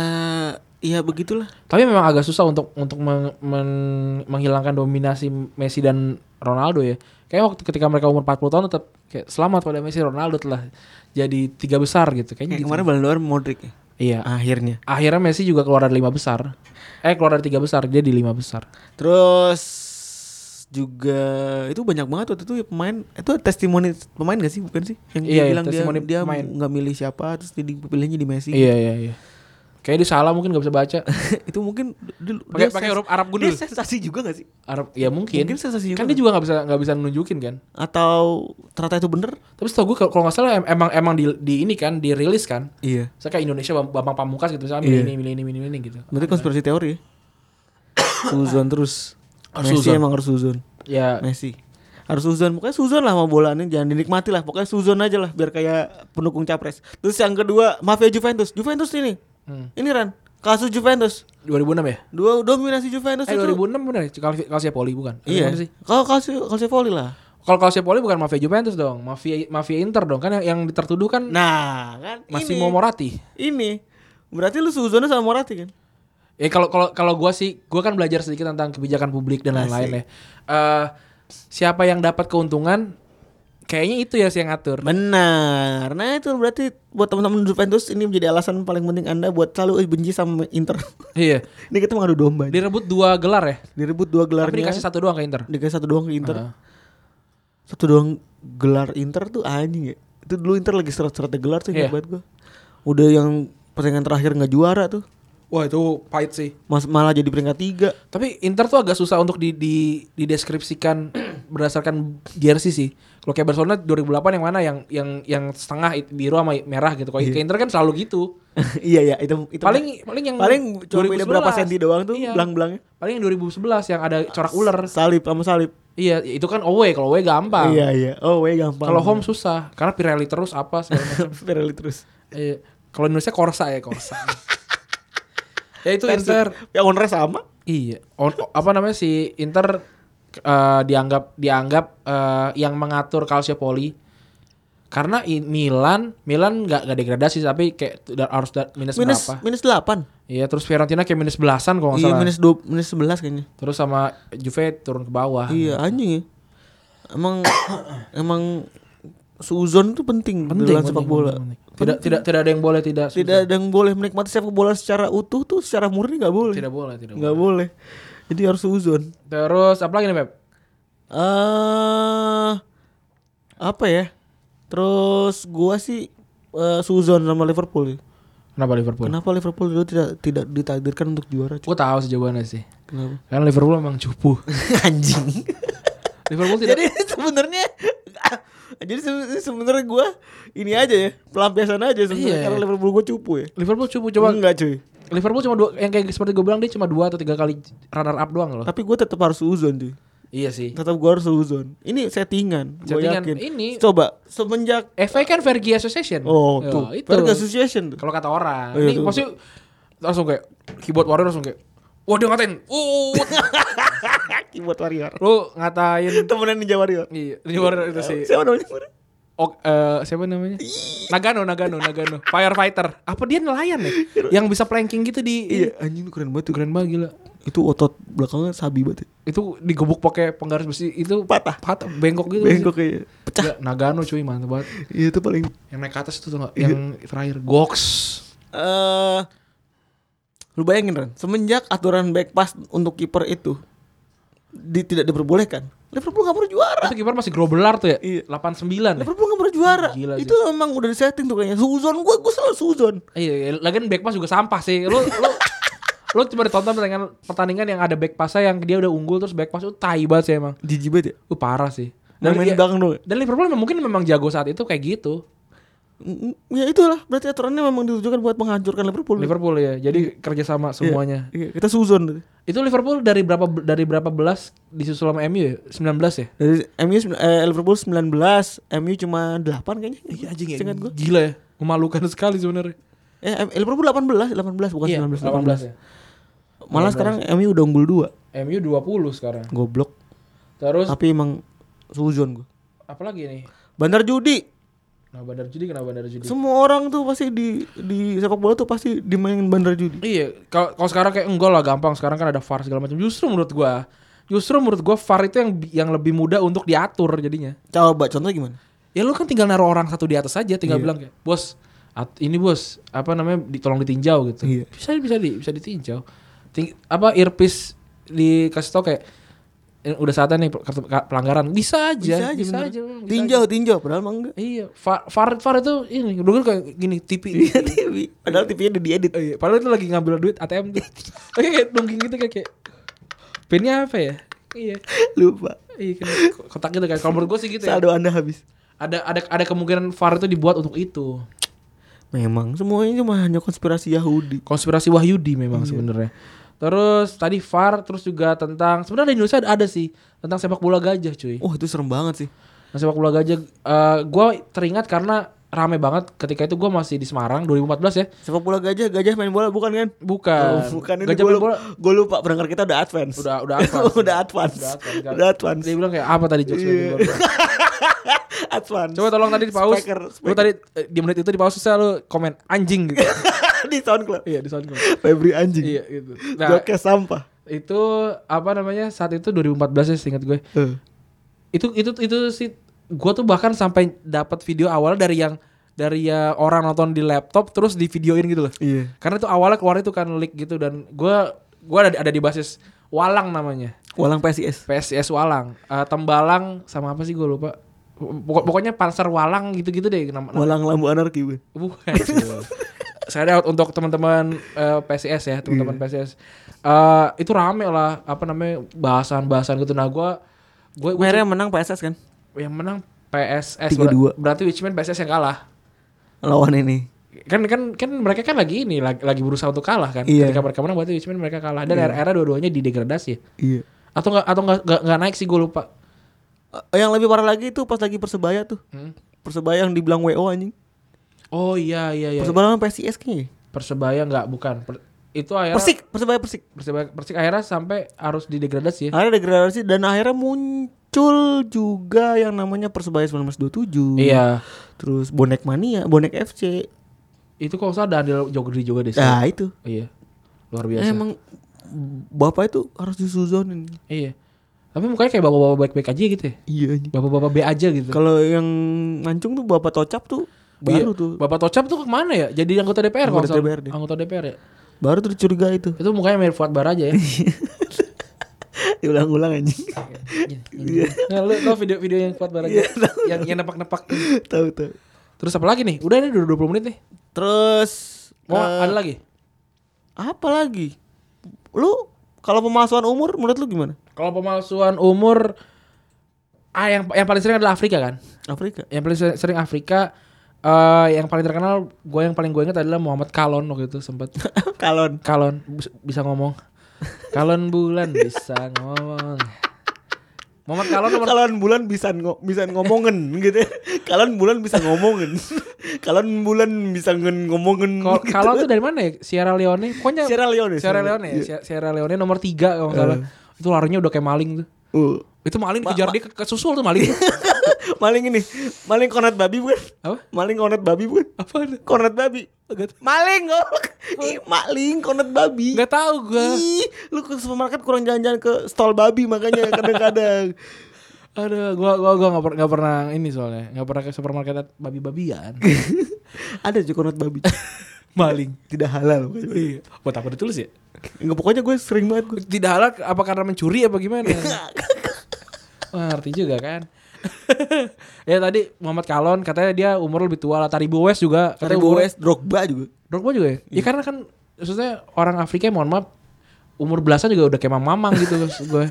Speaker 3: ya begitulah
Speaker 2: tapi memang agak susah untuk untuk meng- meng- menghilangkan dominasi Messi dan Ronaldo ya. Kayak waktu ketika mereka umur 40 tahun tetap kayak selamat pada Messi Ronaldo telah jadi tiga besar gitu. Kayaknya
Speaker 3: Kayak
Speaker 2: gitu.
Speaker 3: kemarin Ballon d'Or Modric ya.
Speaker 2: Iya.
Speaker 3: Akhirnya.
Speaker 2: Akhirnya Messi juga keluar dari lima besar. Eh keluar dari tiga besar, dia di lima besar.
Speaker 3: Terus juga itu banyak banget waktu itu ya pemain itu testimoni pemain gak sih bukan sih yang
Speaker 2: Iya,
Speaker 3: dia
Speaker 2: iya,
Speaker 3: bilang dia
Speaker 2: testimoni
Speaker 3: dia
Speaker 2: pemain.
Speaker 3: nggak milih siapa terus dia dipilihnya di Messi
Speaker 2: Iya iya iya. Kayaknya dia salah mungkin gak bisa baca.
Speaker 3: itu mungkin dulu
Speaker 2: Pakai pakai huruf Arab gundul.
Speaker 3: dia sensasi juga gak sih
Speaker 2: Arab ya mungkin.
Speaker 3: Mungkin sensasi
Speaker 2: kan
Speaker 3: juga.
Speaker 2: dia juga nggak bisa nggak bisa nunjukin kan.
Speaker 3: atau ternyata itu bener
Speaker 2: Tapi setahu gue kalau- kalau nggak salah em- emang emang di, di ini kan dirilis kan.
Speaker 3: iya
Speaker 2: Saya kayak Indonesia Bam- Bambang Pamungkas gitu misalnya milih
Speaker 3: Iya.
Speaker 2: ini milih ini milih ini gitu.
Speaker 3: berarti konspirasi teori ya Suzon terus
Speaker 2: Harus
Speaker 3: Messi
Speaker 2: suzon.
Speaker 3: emang harus Suzon
Speaker 2: Ya
Speaker 3: Messi harus Suzon pokoknya Suzon lah sama bola ini jangan dinikmati lah pokoknya Suzon aja lah biar kayak pendukung capres terus yang kedua mafia Juventus Juventus ini
Speaker 2: Hmm.
Speaker 3: ini Ran kasus Juventus
Speaker 2: 2006 ya?
Speaker 3: dua dominasi Juventus
Speaker 2: Eh
Speaker 3: itu
Speaker 2: 2006 bener ya? Kalau kalau Poli bukan? Atau
Speaker 3: iya
Speaker 2: gimana sih?
Speaker 3: kalau kasus kasus volley lah
Speaker 2: Kalau kalau Poli bukan mafia Juventus dong, mafia mafia Inter dong. Kan yang, yang tertuduh kan
Speaker 3: nah kan
Speaker 2: masih
Speaker 3: ini
Speaker 2: mau Morati.
Speaker 3: ini berarti lu Suzonnya sama Morati kan
Speaker 2: Ya kalau kalau kalau gua sih gua kan belajar sedikit tentang kebijakan publik dan lain-lain ya. Eh siapa yang dapat keuntungan kayaknya itu ya sih yang
Speaker 3: Nah.
Speaker 2: ngatur.
Speaker 3: Benar. Nah itu berarti buat teman-teman Juventus ini menjadi alasan paling penting Anda buat selalu "Eh, benci sama Inter.
Speaker 2: iya.
Speaker 3: ini kita mengadu domba. nih.
Speaker 2: Direbut dua gelar ya.
Speaker 3: Direbut dua gelarnya.
Speaker 2: Tapi dikasih satu doang ke Inter.
Speaker 3: dikasih satu doang ke Inter.
Speaker 2: Ah.
Speaker 3: Satu doang gelar Inter tuh anjing ya. Itu dulu Inter lagi seret-seret gelar tuh
Speaker 2: Iya.
Speaker 3: ingat banget gua. Udah yang pertandingan terakhir nggak juara tuh.
Speaker 2: Wah, itu pahit sih.
Speaker 3: Mas malah jadi peringkat tiga.
Speaker 2: Tapi Inter tuh agak susah untuk di, di dideskripsikan berdasarkan jersey sih. Kalau kayak Barcelona 2008 yang mana yang yang yang setengah it- biru sama merah gitu. Kalau kayak Inter kan selalu gitu.
Speaker 3: iya iya itu Iya. itu
Speaker 2: Paling paling yang
Speaker 3: paling cuma beda berapa
Speaker 2: 2011.
Speaker 3: senti doang tuh
Speaker 2: Iya.
Speaker 3: belang-belangnya.
Speaker 2: Paling yang 2011 yang ada corak ular.
Speaker 3: Salib sama salib.
Speaker 2: Iya, itu kan away. Kalau away gampang.
Speaker 3: Iya iya. Oh, weh gampang.
Speaker 2: Kalau home susah karena Pirelli terus apa segala macam.
Speaker 3: Pirelli terus.
Speaker 2: Iya. Kalau Indonesia Corsa ya Corsa. ya itu
Speaker 3: Versi-
Speaker 2: Inter.
Speaker 3: Ya ownernya sama.
Speaker 2: Iya. On- o- apa namanya si Inter eh, dianggap dianggap eh, yang mengatur Calciopoli karena i- Milan Milan nggak nggak degradasi tapi kayak tu- da- harus da- minus,
Speaker 3: minus
Speaker 2: berapa?
Speaker 3: minus delapan
Speaker 2: Iya terus Fiorentina kayak minus belasan kalau nggak
Speaker 3: iya
Speaker 2: salah.
Speaker 3: minus dua minus sebelas kayaknya
Speaker 2: Terus sama Juve turun ke bawah.
Speaker 3: iya anjing ya emang emang suzon itu penting,
Speaker 2: Penting,
Speaker 3: dalam sepak
Speaker 2: penting,
Speaker 3: bola
Speaker 2: penting, penting. Tidak tidak tidak ada yang boleh tidak
Speaker 3: tidak ada yang boleh menikmati sepak bola secara utuh tuh secara murni nggak boleh
Speaker 2: tidak boleh tidak boleh.
Speaker 3: nggak boleh jadi harus suzon
Speaker 2: Terus apa lagi nih Pep?
Speaker 3: eh apa ya terus gua sih eh, suzon sama Liverpool
Speaker 2: Kenapa Liverpool?
Speaker 3: kenapa Liverpool dulu tidak tidak ditakdirkan untuk juara cuy?
Speaker 2: Gue tahu sih jawabannya sih.
Speaker 3: kenapa
Speaker 2: Karena Liverpool emang cupu.
Speaker 3: anjing
Speaker 2: Liverpool tidak
Speaker 3: jadi sebenarnya jadi se- sebenarnya gue ini aja ya pelampiasan aja sebenarnya
Speaker 2: Iya.
Speaker 3: karena Liverpool gue cupu ya
Speaker 2: Liverpool cupu coba
Speaker 3: enggak cuy
Speaker 2: Liverpool cuma dua yang kayak seperti gue bilang dia cuma dua atau tiga kali runner up doang loh.
Speaker 3: tapi gue tetap harus uzon cuy
Speaker 2: Iya sih.
Speaker 3: tetap gue harus uzon ini settingan gue
Speaker 2: Settingan
Speaker 3: yakin
Speaker 2: ini.
Speaker 3: coba semenjak
Speaker 2: FA kan Fergie Association.
Speaker 3: oh
Speaker 2: Ya,
Speaker 3: tuh
Speaker 2: itu.
Speaker 3: Verga Association tuh
Speaker 2: Kalau kata orang,
Speaker 3: Oh, iya,
Speaker 2: ini
Speaker 3: tuh.
Speaker 2: pasti langsung kayak keyboard warrior langsung kayak Wah dia ngatain, uh,
Speaker 3: kaki buat warrior
Speaker 2: lu ngatain,
Speaker 3: temenan Ninja Warrior
Speaker 2: iya, ini warrior itu sih.
Speaker 3: siapa namanya
Speaker 2: Ok, eh, siapa namanya? Nagano, Nagano, Nagano, firefighter. Apa dia nelayan ya? Yang bisa planking gitu di,
Speaker 3: iya anjing itu keren banget tuh
Speaker 2: keren banget gila.
Speaker 3: itu otot belakangnya sabi banget ya.
Speaker 2: Itu digebuk pakai penggaris besi itu
Speaker 3: Patah.
Speaker 2: patah, bengkok gitu.
Speaker 3: bengkok kayaknya
Speaker 2: pecah. Nagano cuy mantep banget.
Speaker 3: iya itu paling
Speaker 2: Yang naik ke atas itu tuh nggak?
Speaker 3: Iya.
Speaker 2: Yang terakhir Gox.
Speaker 3: eh lu bayangin Ren, semenjak aturan back pass untuk kiper itu di, tidak diperbolehkan. Liverpool gak pernah juara.
Speaker 2: Itu kiper masih grobelar tuh ya.
Speaker 3: Iya.
Speaker 2: 89. ya?
Speaker 3: Liverpool gak pernah juara.
Speaker 2: Gila sih.
Speaker 3: itu emang udah disetting tuh kayaknya. Suzon gue, gue selalu suzon.
Speaker 2: Iya, iya. lagian back pass juga sampah sih. Lu lu lu coba ditonton pertandingan pertandingan yang ada back passnya yang dia udah unggul terus back pass itu tai banget sih emang.
Speaker 3: Jijik banget ya.
Speaker 2: Uh, parah sih.
Speaker 3: Dan
Speaker 2: Dan,
Speaker 3: main
Speaker 2: iya-
Speaker 3: belakang dong.
Speaker 2: dan Liverpool memang mungkin memang jago saat itu kayak gitu.
Speaker 3: Mm, Ya itulah, berarti aturannya memang ditujukan buat menghancurkan Liverpool.
Speaker 2: Liverpool ya. Jadi kerja sama
Speaker 3: Iya,
Speaker 2: semuanya.
Speaker 3: Iya, kita suzon.
Speaker 2: Itu Liverpool dari berapa dari berapa belas disusul sama MU ya? 19 ya?
Speaker 3: Dari MU sembilan- eh, Liverpool 19, MU cuma 8 kayaknya. Iya anjing ya. Seingat gue.
Speaker 2: Gila ya. Memalukan sekali sebenarnya.
Speaker 3: Eh, em- Liverpool 18, 18 bukan
Speaker 2: Iya,
Speaker 3: 19,
Speaker 2: 18 ya.
Speaker 3: Malah sekarang MU udah unggul 2.
Speaker 2: MU 20 sekarang.
Speaker 3: Goblok.
Speaker 2: Terus
Speaker 3: Tapi emang suzon gue.
Speaker 2: apalagi nih?
Speaker 3: Bandar judi.
Speaker 2: Nah, bandar judi kenapa bandar judi?
Speaker 3: Semua orang tuh pasti di di sepak bola tuh pasti dimainin bandar judi.
Speaker 2: iya, kalau kalau sekarang kayak enggak lah gampang. Sekarang kan ada VAR segala macam. Justru menurut gua Justru menurut gua VAR itu yang yang lebih mudah untuk diatur jadinya.
Speaker 3: Coba contoh gimana?
Speaker 2: Ya lu kan tinggal naruh orang satu di atas aja, tinggal bilang kayak, "Bos, at- ini bos, apa namanya? ditolong ditinjau gitu."
Speaker 3: Iya.
Speaker 2: Bisa bisa di, bisa ditinjau. Ting- apa earpiece dikasih tau kayak "Eh, udah saatnya nih kartu- ka- pelanggaran. Bisa aja, bisa aja. Bisa
Speaker 3: bener.
Speaker 2: aja bisa
Speaker 3: tinjau,
Speaker 2: aja.
Speaker 3: tinjau padahal mah enggak.
Speaker 2: Iya, VAR, VAR, VAR itu ini dulu kan kayak gini, TV.
Speaker 3: Iya, TV. Padahal TV-nya udah diedit.
Speaker 2: Oh iya, padahal itu lagi ngambil duit ATM tuh. Oke, kayak dongking gitu kayak, kayak pinnya apa ya? Iya,
Speaker 3: Lupa.
Speaker 2: iya kan kotak gitu kan. Kalau menurut gue sih gitu ya.
Speaker 3: Saldo Anda habis.
Speaker 2: Ada ada ada kemungkinan VAR itu dibuat untuk itu.
Speaker 3: Memang semuanya cuma hanya konspirasi Yahudi.
Speaker 2: Konspirasi Wahyudi
Speaker 3: Iya.
Speaker 2: memang sebenarnya. Terus tadi VAR terus juga tentang sebenarnya di Indonesia ada, ada sih tentang sepak bola gajah cuy.
Speaker 3: Wah, itu serem banget sih.
Speaker 2: Nah, sepak bola gajah gue teringat karena rame banget ketika itu gue masih di Semarang 2014 ya.
Speaker 3: Sepak bola gajah, gajah main bola bukan kan?
Speaker 2: Bukan.
Speaker 3: Oh, bukan ini
Speaker 2: gajah
Speaker 3: gua
Speaker 2: main
Speaker 3: lupa,
Speaker 2: bola.
Speaker 3: gua lupa pendengar kita udah advance.
Speaker 2: Udah udah advance.
Speaker 3: udah advance.
Speaker 2: Udah advance.
Speaker 3: Udah advance.
Speaker 2: Dia bilang kayak apa tadi
Speaker 3: Iya.
Speaker 2: jokes lu? Gua lupa.
Speaker 3: advance.
Speaker 2: Coba tolong tadi di pause.
Speaker 3: Speaker,
Speaker 2: Lu
Speaker 3: speaker.
Speaker 2: tadi eh, di menit itu di pause susah lu komen anjing gitu.
Speaker 3: di SoundCloud.
Speaker 2: iya di soundcloud.
Speaker 3: Febri anjing.
Speaker 2: iya gitu. Nah
Speaker 3: Jokes sampah.
Speaker 2: itu apa namanya saat itu 2014 ya seingat gue.
Speaker 3: Eh.
Speaker 2: Itu itu itu sih gue tuh bahkan sampai dapat video awal dari yang dari ya orang nonton di laptop terus di videoin gitu loh.
Speaker 3: Iya.
Speaker 2: Karena itu awalnya keluar itu kan leak gitu dan gue gue ada, ada di basis Walang namanya.
Speaker 3: Walang PSIS.
Speaker 2: PSIS Walang, Eh, Tembalang sama apa sih gue lupa. Pokok- pokoknya Panser Walang gitu-gitu deh nama, nama-
Speaker 3: Walang lambu anarki. Bu.
Speaker 2: Bukan. Saya out untuk teman-teman eh, PSIS ya, teman-teman
Speaker 3: Iya.
Speaker 2: PSIS. Eh, itu rame lah apa namanya bahasan-bahasan gitu. Nah, gua gua, gua
Speaker 3: Akhirnya menang PSS kan?
Speaker 2: yang menang PSS Ber-
Speaker 3: 3-2.
Speaker 2: berarti which mean PSS yang kalah.
Speaker 3: Lawan ini.
Speaker 2: Kan kan kan mereka kan lagi ini lagi, lagi berusaha untuk kalah kan.
Speaker 3: Iya.
Speaker 2: Ketika mereka menang berarti which mean mereka kalah dan era-era dua-duanya didegradasi ya.
Speaker 3: Iya.
Speaker 2: Atau enggak atau enggak enggak naik sih gue lupa.
Speaker 3: Eh, Yang lebih parah lagi itu pas lagi persebaya tuh.
Speaker 2: Hmm.
Speaker 3: Persebaya yang dibilang WO anjing.
Speaker 2: Oh iya iya iya.
Speaker 3: Persebaya lawan PSIS kayaknya.
Speaker 2: Persebaya enggak bukan. Per- itu akhirnya
Speaker 3: Persik, persebaya persik.
Speaker 2: Persebaya Persik akhirnya sampai harus didegradasi ya.
Speaker 3: Akhirnya degradasi dan akhirnya muncul juga yang namanya persebaya 1927.
Speaker 2: Iya.
Speaker 3: Terus bonek mania, bonek FC.
Speaker 2: Itu kok usah Daniel Jogri juga deh. sih.
Speaker 3: Nah itu.
Speaker 2: Iya. Luar biasa.
Speaker 3: Emang bapak itu harus disuzonin.
Speaker 2: Iya. Tapi mukanya kayak bapak-bapak baik-baik aja gitu ya.
Speaker 3: Iya. anjing.
Speaker 2: Bapak-bapak B aja gitu.
Speaker 3: Kalau yang mancung tuh bapak tocap tuh
Speaker 2: Iya.
Speaker 3: baru tuh.
Speaker 2: Bapak Tocap tuh kemana ya? Jadi anggota DPR kalau
Speaker 3: Anggota
Speaker 2: nggak salah.
Speaker 3: DPR dia.
Speaker 2: Anggota DPR ya.
Speaker 3: Baru tuh curiga itu.
Speaker 2: Itu mukanya mirip Fuad Bar aja ya.
Speaker 3: Diulang-ulang anjing.
Speaker 2: nah, lu tau video-video yang Fuad Bar
Speaker 3: Iya,
Speaker 2: aja. yang yang nepak-nepak.
Speaker 3: tahu tahu.
Speaker 2: Terus apa lagi nih? Udah ini udah 20 menit nih.
Speaker 3: Terus
Speaker 2: Mau
Speaker 3: eh,
Speaker 2: ada lagi?
Speaker 3: apa lagi? Lu kalau pemalsuan umur menurut lu gimana?
Speaker 2: Kalau pemalsuan umur ah yang yang paling sering adalah Afrika kan?
Speaker 3: Afrika.
Speaker 2: yang paling ser- sering Afrika eh yang paling terkenal gue yang paling gue ingat adalah Muhammad Kalon waktu itu sempat
Speaker 3: Kalon.
Speaker 2: Kalon bus- bisa ngomong Kalon bulan bisa ngomong Muhammad Kalon nomor
Speaker 3: Kalon bulan bisa ngo- bisa ngomongin gitu. ya. Kalon bulan bisa ngomongin. Kalon bulan bisa ngen- ngomongin.
Speaker 2: Kal-
Speaker 3: gitu.
Speaker 2: Kalon tuh dari mana ya Sierra Leone pokoknya
Speaker 3: Sierra Leone.
Speaker 2: Sierra Leone Eh. ya Si- Sierra Leone nomor 3 kalau nggak salah itu larinya udah kayak maling tuh
Speaker 3: Uh.
Speaker 2: itu maling kejar dia ke- kesusul tuh maling
Speaker 3: maling ini, maling kornet babi bukan?
Speaker 2: Apa?
Speaker 3: Maling kornet babi bukan?
Speaker 2: apa
Speaker 3: Kornet babi. Maling goblok. Ih, maling kornet babi.
Speaker 2: nggak tahu gue
Speaker 3: Ih, lu ke supermarket kurang jalan-jalan ke stall babi makanya kadang-kadang.
Speaker 2: aduh gue gue gue nggak per- nggak pernah ini soalnya nggak pernah ke supermarket babi-babian
Speaker 3: Ada juga kornet babi.
Speaker 2: maling
Speaker 3: Tidak halal. makanya.
Speaker 2: iya buat apa ditulis ya
Speaker 3: Nggak pokoknya gue sering banget gue.
Speaker 2: tidak halal apa karena mencuri apa gimana? Wah, ngerti juga kan. ya tadi Muhammad Kalon katanya dia umur lebih tua lah. Taribo West juga katanya umur
Speaker 3: West Drogba juga.
Speaker 2: Drogba juga ya? Ya karena kan maksudnya orang Afrika mohon maaf umur belasan juga udah kayak mamang gitu maksud gue.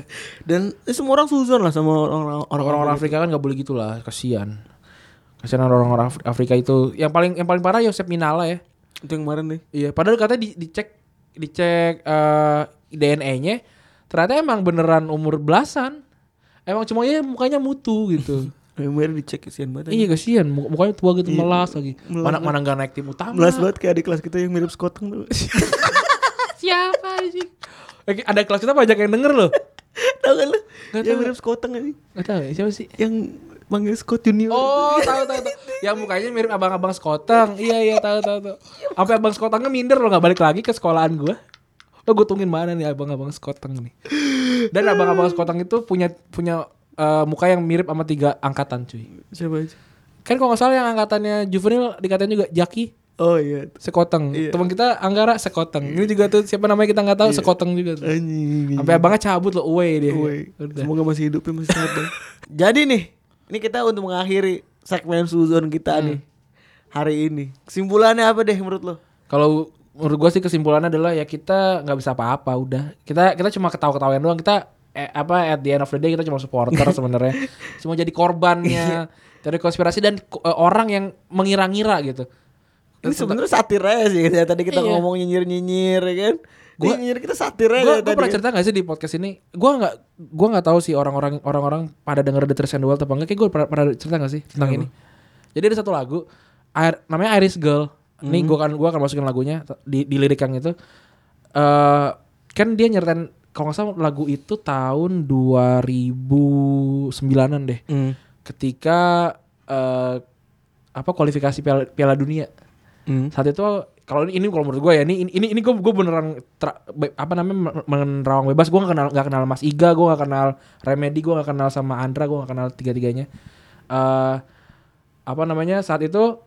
Speaker 3: Dan eh, semua orang suzon lah sama orang-orang
Speaker 2: Orang-orang Afrika kan nggak boleh gitu lah, kasihan. Kasihan orang-orang Af- Afrika itu. Yang paling yang paling parah Yosep Minala ya.
Speaker 3: Itu yang kemarin nih.
Speaker 2: Iya, padahal katanya di, dicek dicek eh, DNA-nya ternyata emang beneran umur belasan. Emang cuma ya mukanya mutu gitu.
Speaker 3: Yang kemarin dicek kesian banget.
Speaker 2: iya kasihan mu- mukanya tua gitu melas lagi.
Speaker 3: melas
Speaker 2: Mana mana nggak naik tim utama.
Speaker 3: Melas banget kayak adik kelas kita yang mirip Skoteng tuh.
Speaker 2: Siapa sih? Eh, ada kelas kita banyak yang denger loh.
Speaker 3: Tahu kan lu?
Speaker 2: Nggak
Speaker 3: yang
Speaker 2: tahu.
Speaker 3: mirip Skoteng ini.
Speaker 2: Gak tahu ya, siapa sih?
Speaker 3: Yang manggil Scott Junior.
Speaker 2: Oh, tahu tahu tahu. Yang mukanya mirip abang-abang skoteng. Iya iya tahu tahu tahu. Sampai abang skotengnya minder loh nggak balik lagi ke sekolahan gua. Lo gue tungguin mana nih abang-abang skoteng nih. Dan abang-abang sekotang itu punya punya eh, muka yang mirip sama tiga angkatan cuy.
Speaker 8: Siapa aja?
Speaker 2: Kan kalau nggak salah yang angkatannya Juvenil dikatain juga Jaki
Speaker 8: Oh iya.
Speaker 2: sekoteng.
Speaker 8: Iya.
Speaker 2: Teman kita Anggara sekoteng. Ini juga tuh siapa namanya kita nggak tahu sekoteng juga tuh.
Speaker 8: Anjing.
Speaker 2: Sampai abangnya cabut loh away dia.
Speaker 8: Woi,
Speaker 2: Udah.
Speaker 8: Semoga masih hidupnya masih sehat. Bang.
Speaker 3: Jadi nih, ini kita untuk mengakhiri segmen suzon kita
Speaker 8: Hmm.
Speaker 3: nih hari ini. Kesimpulannya apa deh menurut lo?
Speaker 2: Kalau menurut gua sih kesimpulannya adalah ya kita nggak bisa apa-apa udah. Kita kita cuma ketawa-ketawain doang. Kita eh, apa at the end of the day kita cuma supporter sebenarnya. Semua jadi korbannya dari konspirasi dan eh, orang yang mengira-ngira gitu.
Speaker 3: Ini sebenarnya satir aja sih. Ya, tadi kita
Speaker 2: Iya.
Speaker 3: ngomong nyinyir-nyinyir ya kan. Gua,
Speaker 2: Gua-
Speaker 3: nyinyir kita satir
Speaker 2: Gue
Speaker 3: aja kan?
Speaker 2: gue pernah cerita gak sih di podcast ini? Gue nggak gue nggak tahu sih orang-orang orang-orang pada denger The Trash and the World apa enggak. Kayak gue pernah, pernah cerita gak sih tentang ini? Jadi ada satu lagu air, namanya Iris Girl. Nih gue kan gua akan masukin lagunya di, di lirik yang itu. Eh kan dia nyertain kalau nggak salah lagu itu tahun 2009-an deh. Ketika eh apa kualifikasi Piala, Piala Dunia Hmm? saat itu kalau ini, ini kalau menurut gue ya ini ini ini gue gue beneran tra- be- apa namanya me- menerawang bebas gue nggak kenal nggak kenal Mas Iga gue nggak kenal Remedy gue nggak kenal sama Andra gue nggak kenal tiga tiganya eh apa namanya saat itu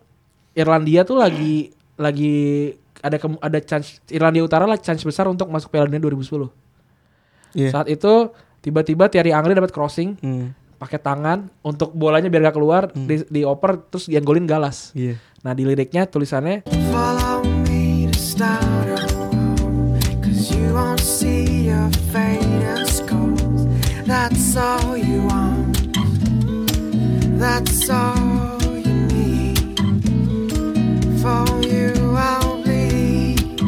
Speaker 2: Irlandia tuh lagi lagi ada kem- ada chance Irlandia Utara lah chance besar untuk masuk Piala Dunia 2010
Speaker 3: Iya. Hmm.
Speaker 2: saat itu tiba-tiba Thierry Angri dapat crossing pakai tangan untuk bolanya biar gak keluar di, dioper terus yang golin galas
Speaker 3: Iya.
Speaker 2: nah di liriknya tulisannya
Speaker 9: Follow me to Stockholm, Cause you won't see your faded goals. That's all you want. That's all you need. For you I'll bleed.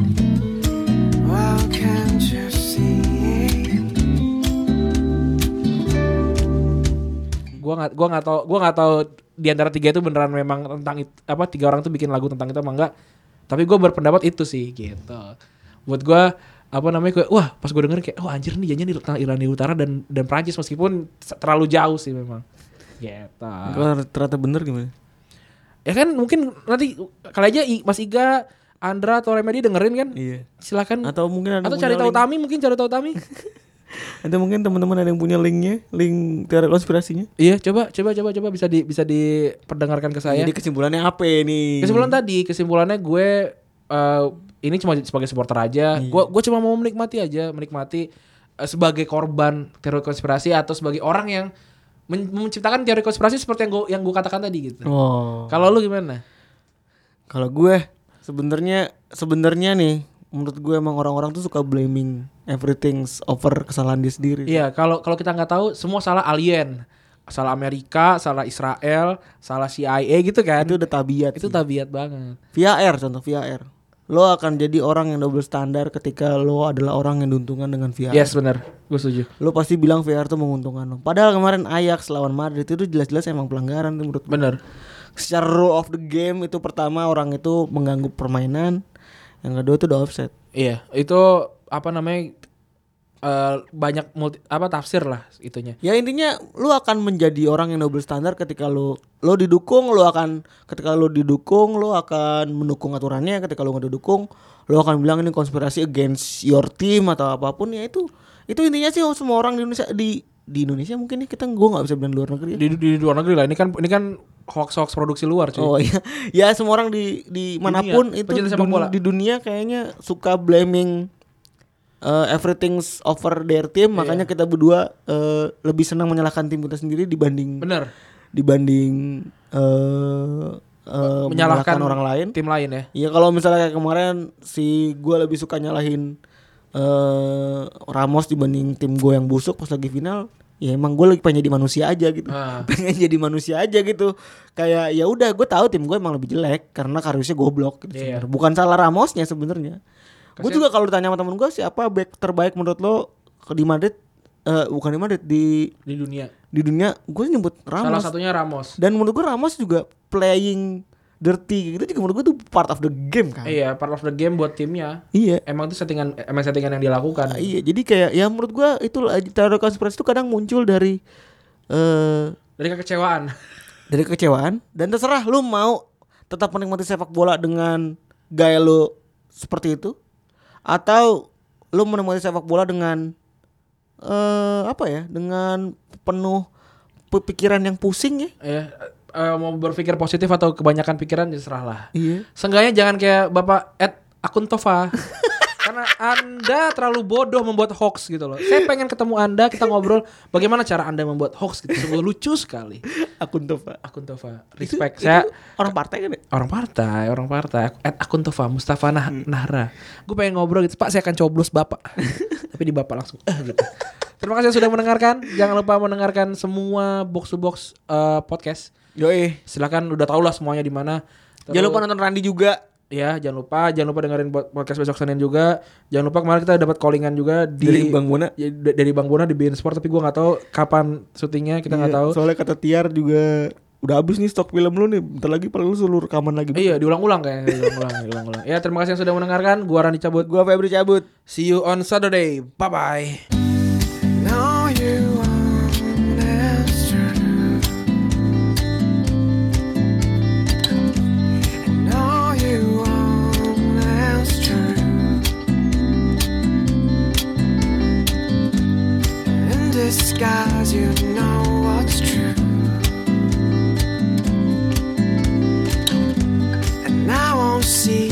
Speaker 9: Well, can't you see?
Speaker 2: gua nggak gua nggak tahu gua nggak tahu di antara tiga itu beneran memang tentang it- apa tiga orang tuh bikin lagu tentang itu apa enggak tapi gua berpendapat itu sih gitu buat gua apa namanya kayak wah pas gua denger kayak oh anjir nih janjian di tentang Irlandia Utara dan dan Prancis meskipun se- terlalu jauh sih memang gitu
Speaker 3: Ah.
Speaker 8: Kalau ternyata bener gimana?
Speaker 2: ya kan mungkin nanti kali aja I- Mas Iga Andra atau Remedy dengerin kan
Speaker 8: Iya.
Speaker 2: silakan
Speaker 8: Atau mungkin ada
Speaker 2: atau
Speaker 8: punya
Speaker 2: cari tahu
Speaker 8: link.
Speaker 2: Tami mungkin cari tahu Tami
Speaker 8: Nanti mungkin teman-teman ada yang punya linknya, link teori konspirasinya.
Speaker 2: iya coba coba coba coba bisa di bisa diperdengarkan ke
Speaker 8: Iya,
Speaker 2: saya
Speaker 3: Jadi kesimpulannya apa nih?
Speaker 2: Kesimpulan tadi, kesimpulannya gue eh, ini cuma sebagai supporter aja.
Speaker 3: Iya.
Speaker 2: Gue gue cuma mau menikmati aja, menikmati eh, sebagai korban teori konspirasi atau sebagai orang yang men- menciptakan teori konspirasi seperti yang gue yang gue katakan tadi gitu.
Speaker 3: Oh.
Speaker 2: Kalau lu gimana?
Speaker 3: Kalau gue sebenarnya sebenarnya nih menurut gue emang orang-orang tuh suka blaming everything over kesalahan dia sendiri.
Speaker 2: Iya, kalau kalau kita nggak tahu semua salah alien, salah Amerika, salah Israel, salah CIA gitu kan.
Speaker 3: Itu
Speaker 2: Itu,
Speaker 3: udah tabiat. Itu
Speaker 2: tabiat banget.
Speaker 3: via air contoh via air. Lo akan jadi orang yang double standar ketika lo adalah orang yang diuntungkan dengan via air.
Speaker 2: Yes, benar. Gue setuju.
Speaker 3: Lo pasti bilang VR tuh menguntungkan lo. Padahal kemarin Ajax lawan Madrid itu jelas-jelas emang pelanggaran tuh menurut gue.
Speaker 2: Bener.
Speaker 3: Secara rule of the game itu pertama orang itu mengganggu permainan. Yang kedua itu udah offset.
Speaker 2: Iya, itu apa namanya eh, banyak multi, apa tafsir lah itunya.
Speaker 3: Ya intinya lu akan menjadi orang yang double standar ketika lu lu didukung, lu akan ketika lu didukung, lu akan mendukung aturannya, ketika lu nggak didukung, lu akan bilang ini konspirasi against your team atau apapun ya itu. Itu intinya sih semua orang di Indonesia di di Indonesia mungkin nih kita gua nggak bisa bilang di luar negeri. ya.
Speaker 2: di, di luar negeri lah ini kan ini kan hoax hoax produksi luar cuy
Speaker 3: Oh iya. Ya semua orang di di manapun itu
Speaker 2: pecinta sepak
Speaker 3: dun-
Speaker 2: bola.
Speaker 3: di dunia kayaknya suka blaming uh, everything's over their team,
Speaker 2: Iya.
Speaker 3: makanya kita berdua uh, lebih senang menyalahkan tim kita sendiri dibanding
Speaker 2: bener
Speaker 3: dibanding eh eh,
Speaker 2: menyalahkan
Speaker 3: orang lain.
Speaker 2: tim lain ya
Speaker 3: Ya kalau misalnya kayak kemarin si gua lebih suka nyalahin eh Ramos dibanding tim gue yang busuk pas lagi final. Ya emang gue lagi pengen jadi manusia aja gitu.
Speaker 2: Ah.
Speaker 3: Pengen jadi manusia aja gitu. Kayak ya udah gue tahu tim gue emang lebih jelek karena Kariusnya goblok gitu
Speaker 2: Iya.
Speaker 3: sebenarnya. Bukan salah Ramosnya sebenarnya. Gue juga kalau ditanya sama temen gue siapa back terbaik menurut lo di Madrid eh bukan di Madrid di
Speaker 2: di dunia
Speaker 3: di dunia gue nyebut
Speaker 2: salah
Speaker 3: Ramos
Speaker 2: satunya Ramos
Speaker 3: dan menurut gue Ramos juga playing dirty gitu juga menurut gue tuh part of the game kan.
Speaker 2: iya part of the game buat timnya
Speaker 3: Iya.
Speaker 2: emang itu settingan emang settingan yang dilakukan
Speaker 3: Iya, jadi kayak ya menurut gua itu lah, teori konspirasi itu kadang muncul dari eh
Speaker 2: dari kekecewaan
Speaker 3: dari kekecewaan dan terserah lu mau tetap menikmati sepak bola dengan gaya lu seperti itu atau lu menikmati sepak bola dengan
Speaker 4: eh apa ya dengan penuh pe- pikiran yang pusing ya.
Speaker 2: Ya, eh, mau berpikir positif atau kebanyakan pikiran ya serahlah.
Speaker 4: Iya.
Speaker 2: Seenggaknya jangan kayak Bapak Ed akun Tova. Karena Anda terlalu bodoh membuat hoax gitu loh. Saya pengen ketemu Anda, kita ngobrol bagaimana cara Anda membuat hoax gitu. Sungguh lucu sekali.
Speaker 4: Akun Tova.
Speaker 2: Akun Tova, respect. Saya
Speaker 4: Orang partai kan ya?
Speaker 2: orang partai, orang partai. At akun Tova, Mustafa Nah-
Speaker 4: Hmm.
Speaker 2: Nahra. Gue pengen ngobrol gitu, Pak saya akan coblos Bapak. Tapi di Bapak langsung, eh gitu. Terima kasih sudah mendengarkan. Jangan lupa mendengarkan semua box to box eh, podcast.
Speaker 4: Yoi.
Speaker 2: Silakan udah tau lah semuanya di mana.
Speaker 4: Jangan lupa
Speaker 2: Terus-
Speaker 4: Ya, nonton Randi juga.
Speaker 2: ya, jangan lupa, jangan lupa dengerin pod- podcast besok Senin juga. Jangan lupa kemarin kita dapat callingan juga di
Speaker 4: Dari Bang Bona.
Speaker 2: Ya, d- dari Bang Bona di Bein Sport tapi gua nggak tahu kapan syutingnya, kita nggak
Speaker 4: Iya,
Speaker 2: tahu.
Speaker 4: Soalnya kata Tiar juga udah habis nih stok film lu nih. Bentar lagi paling lu seluruh rekaman lagi.
Speaker 2: Eh, Iya, diulang-ulang kayaknya, diulang-ulang, diulang-ulang. Ya, terima kasih yang sudah mendengarkan. Gua Rani cabut.
Speaker 4: Gua Febri cabut.
Speaker 2: See you on Saturday. Bye bye.
Speaker 9: No, you aren't as true. No, you aren't as true. In disguise, you know what's true. And I won't see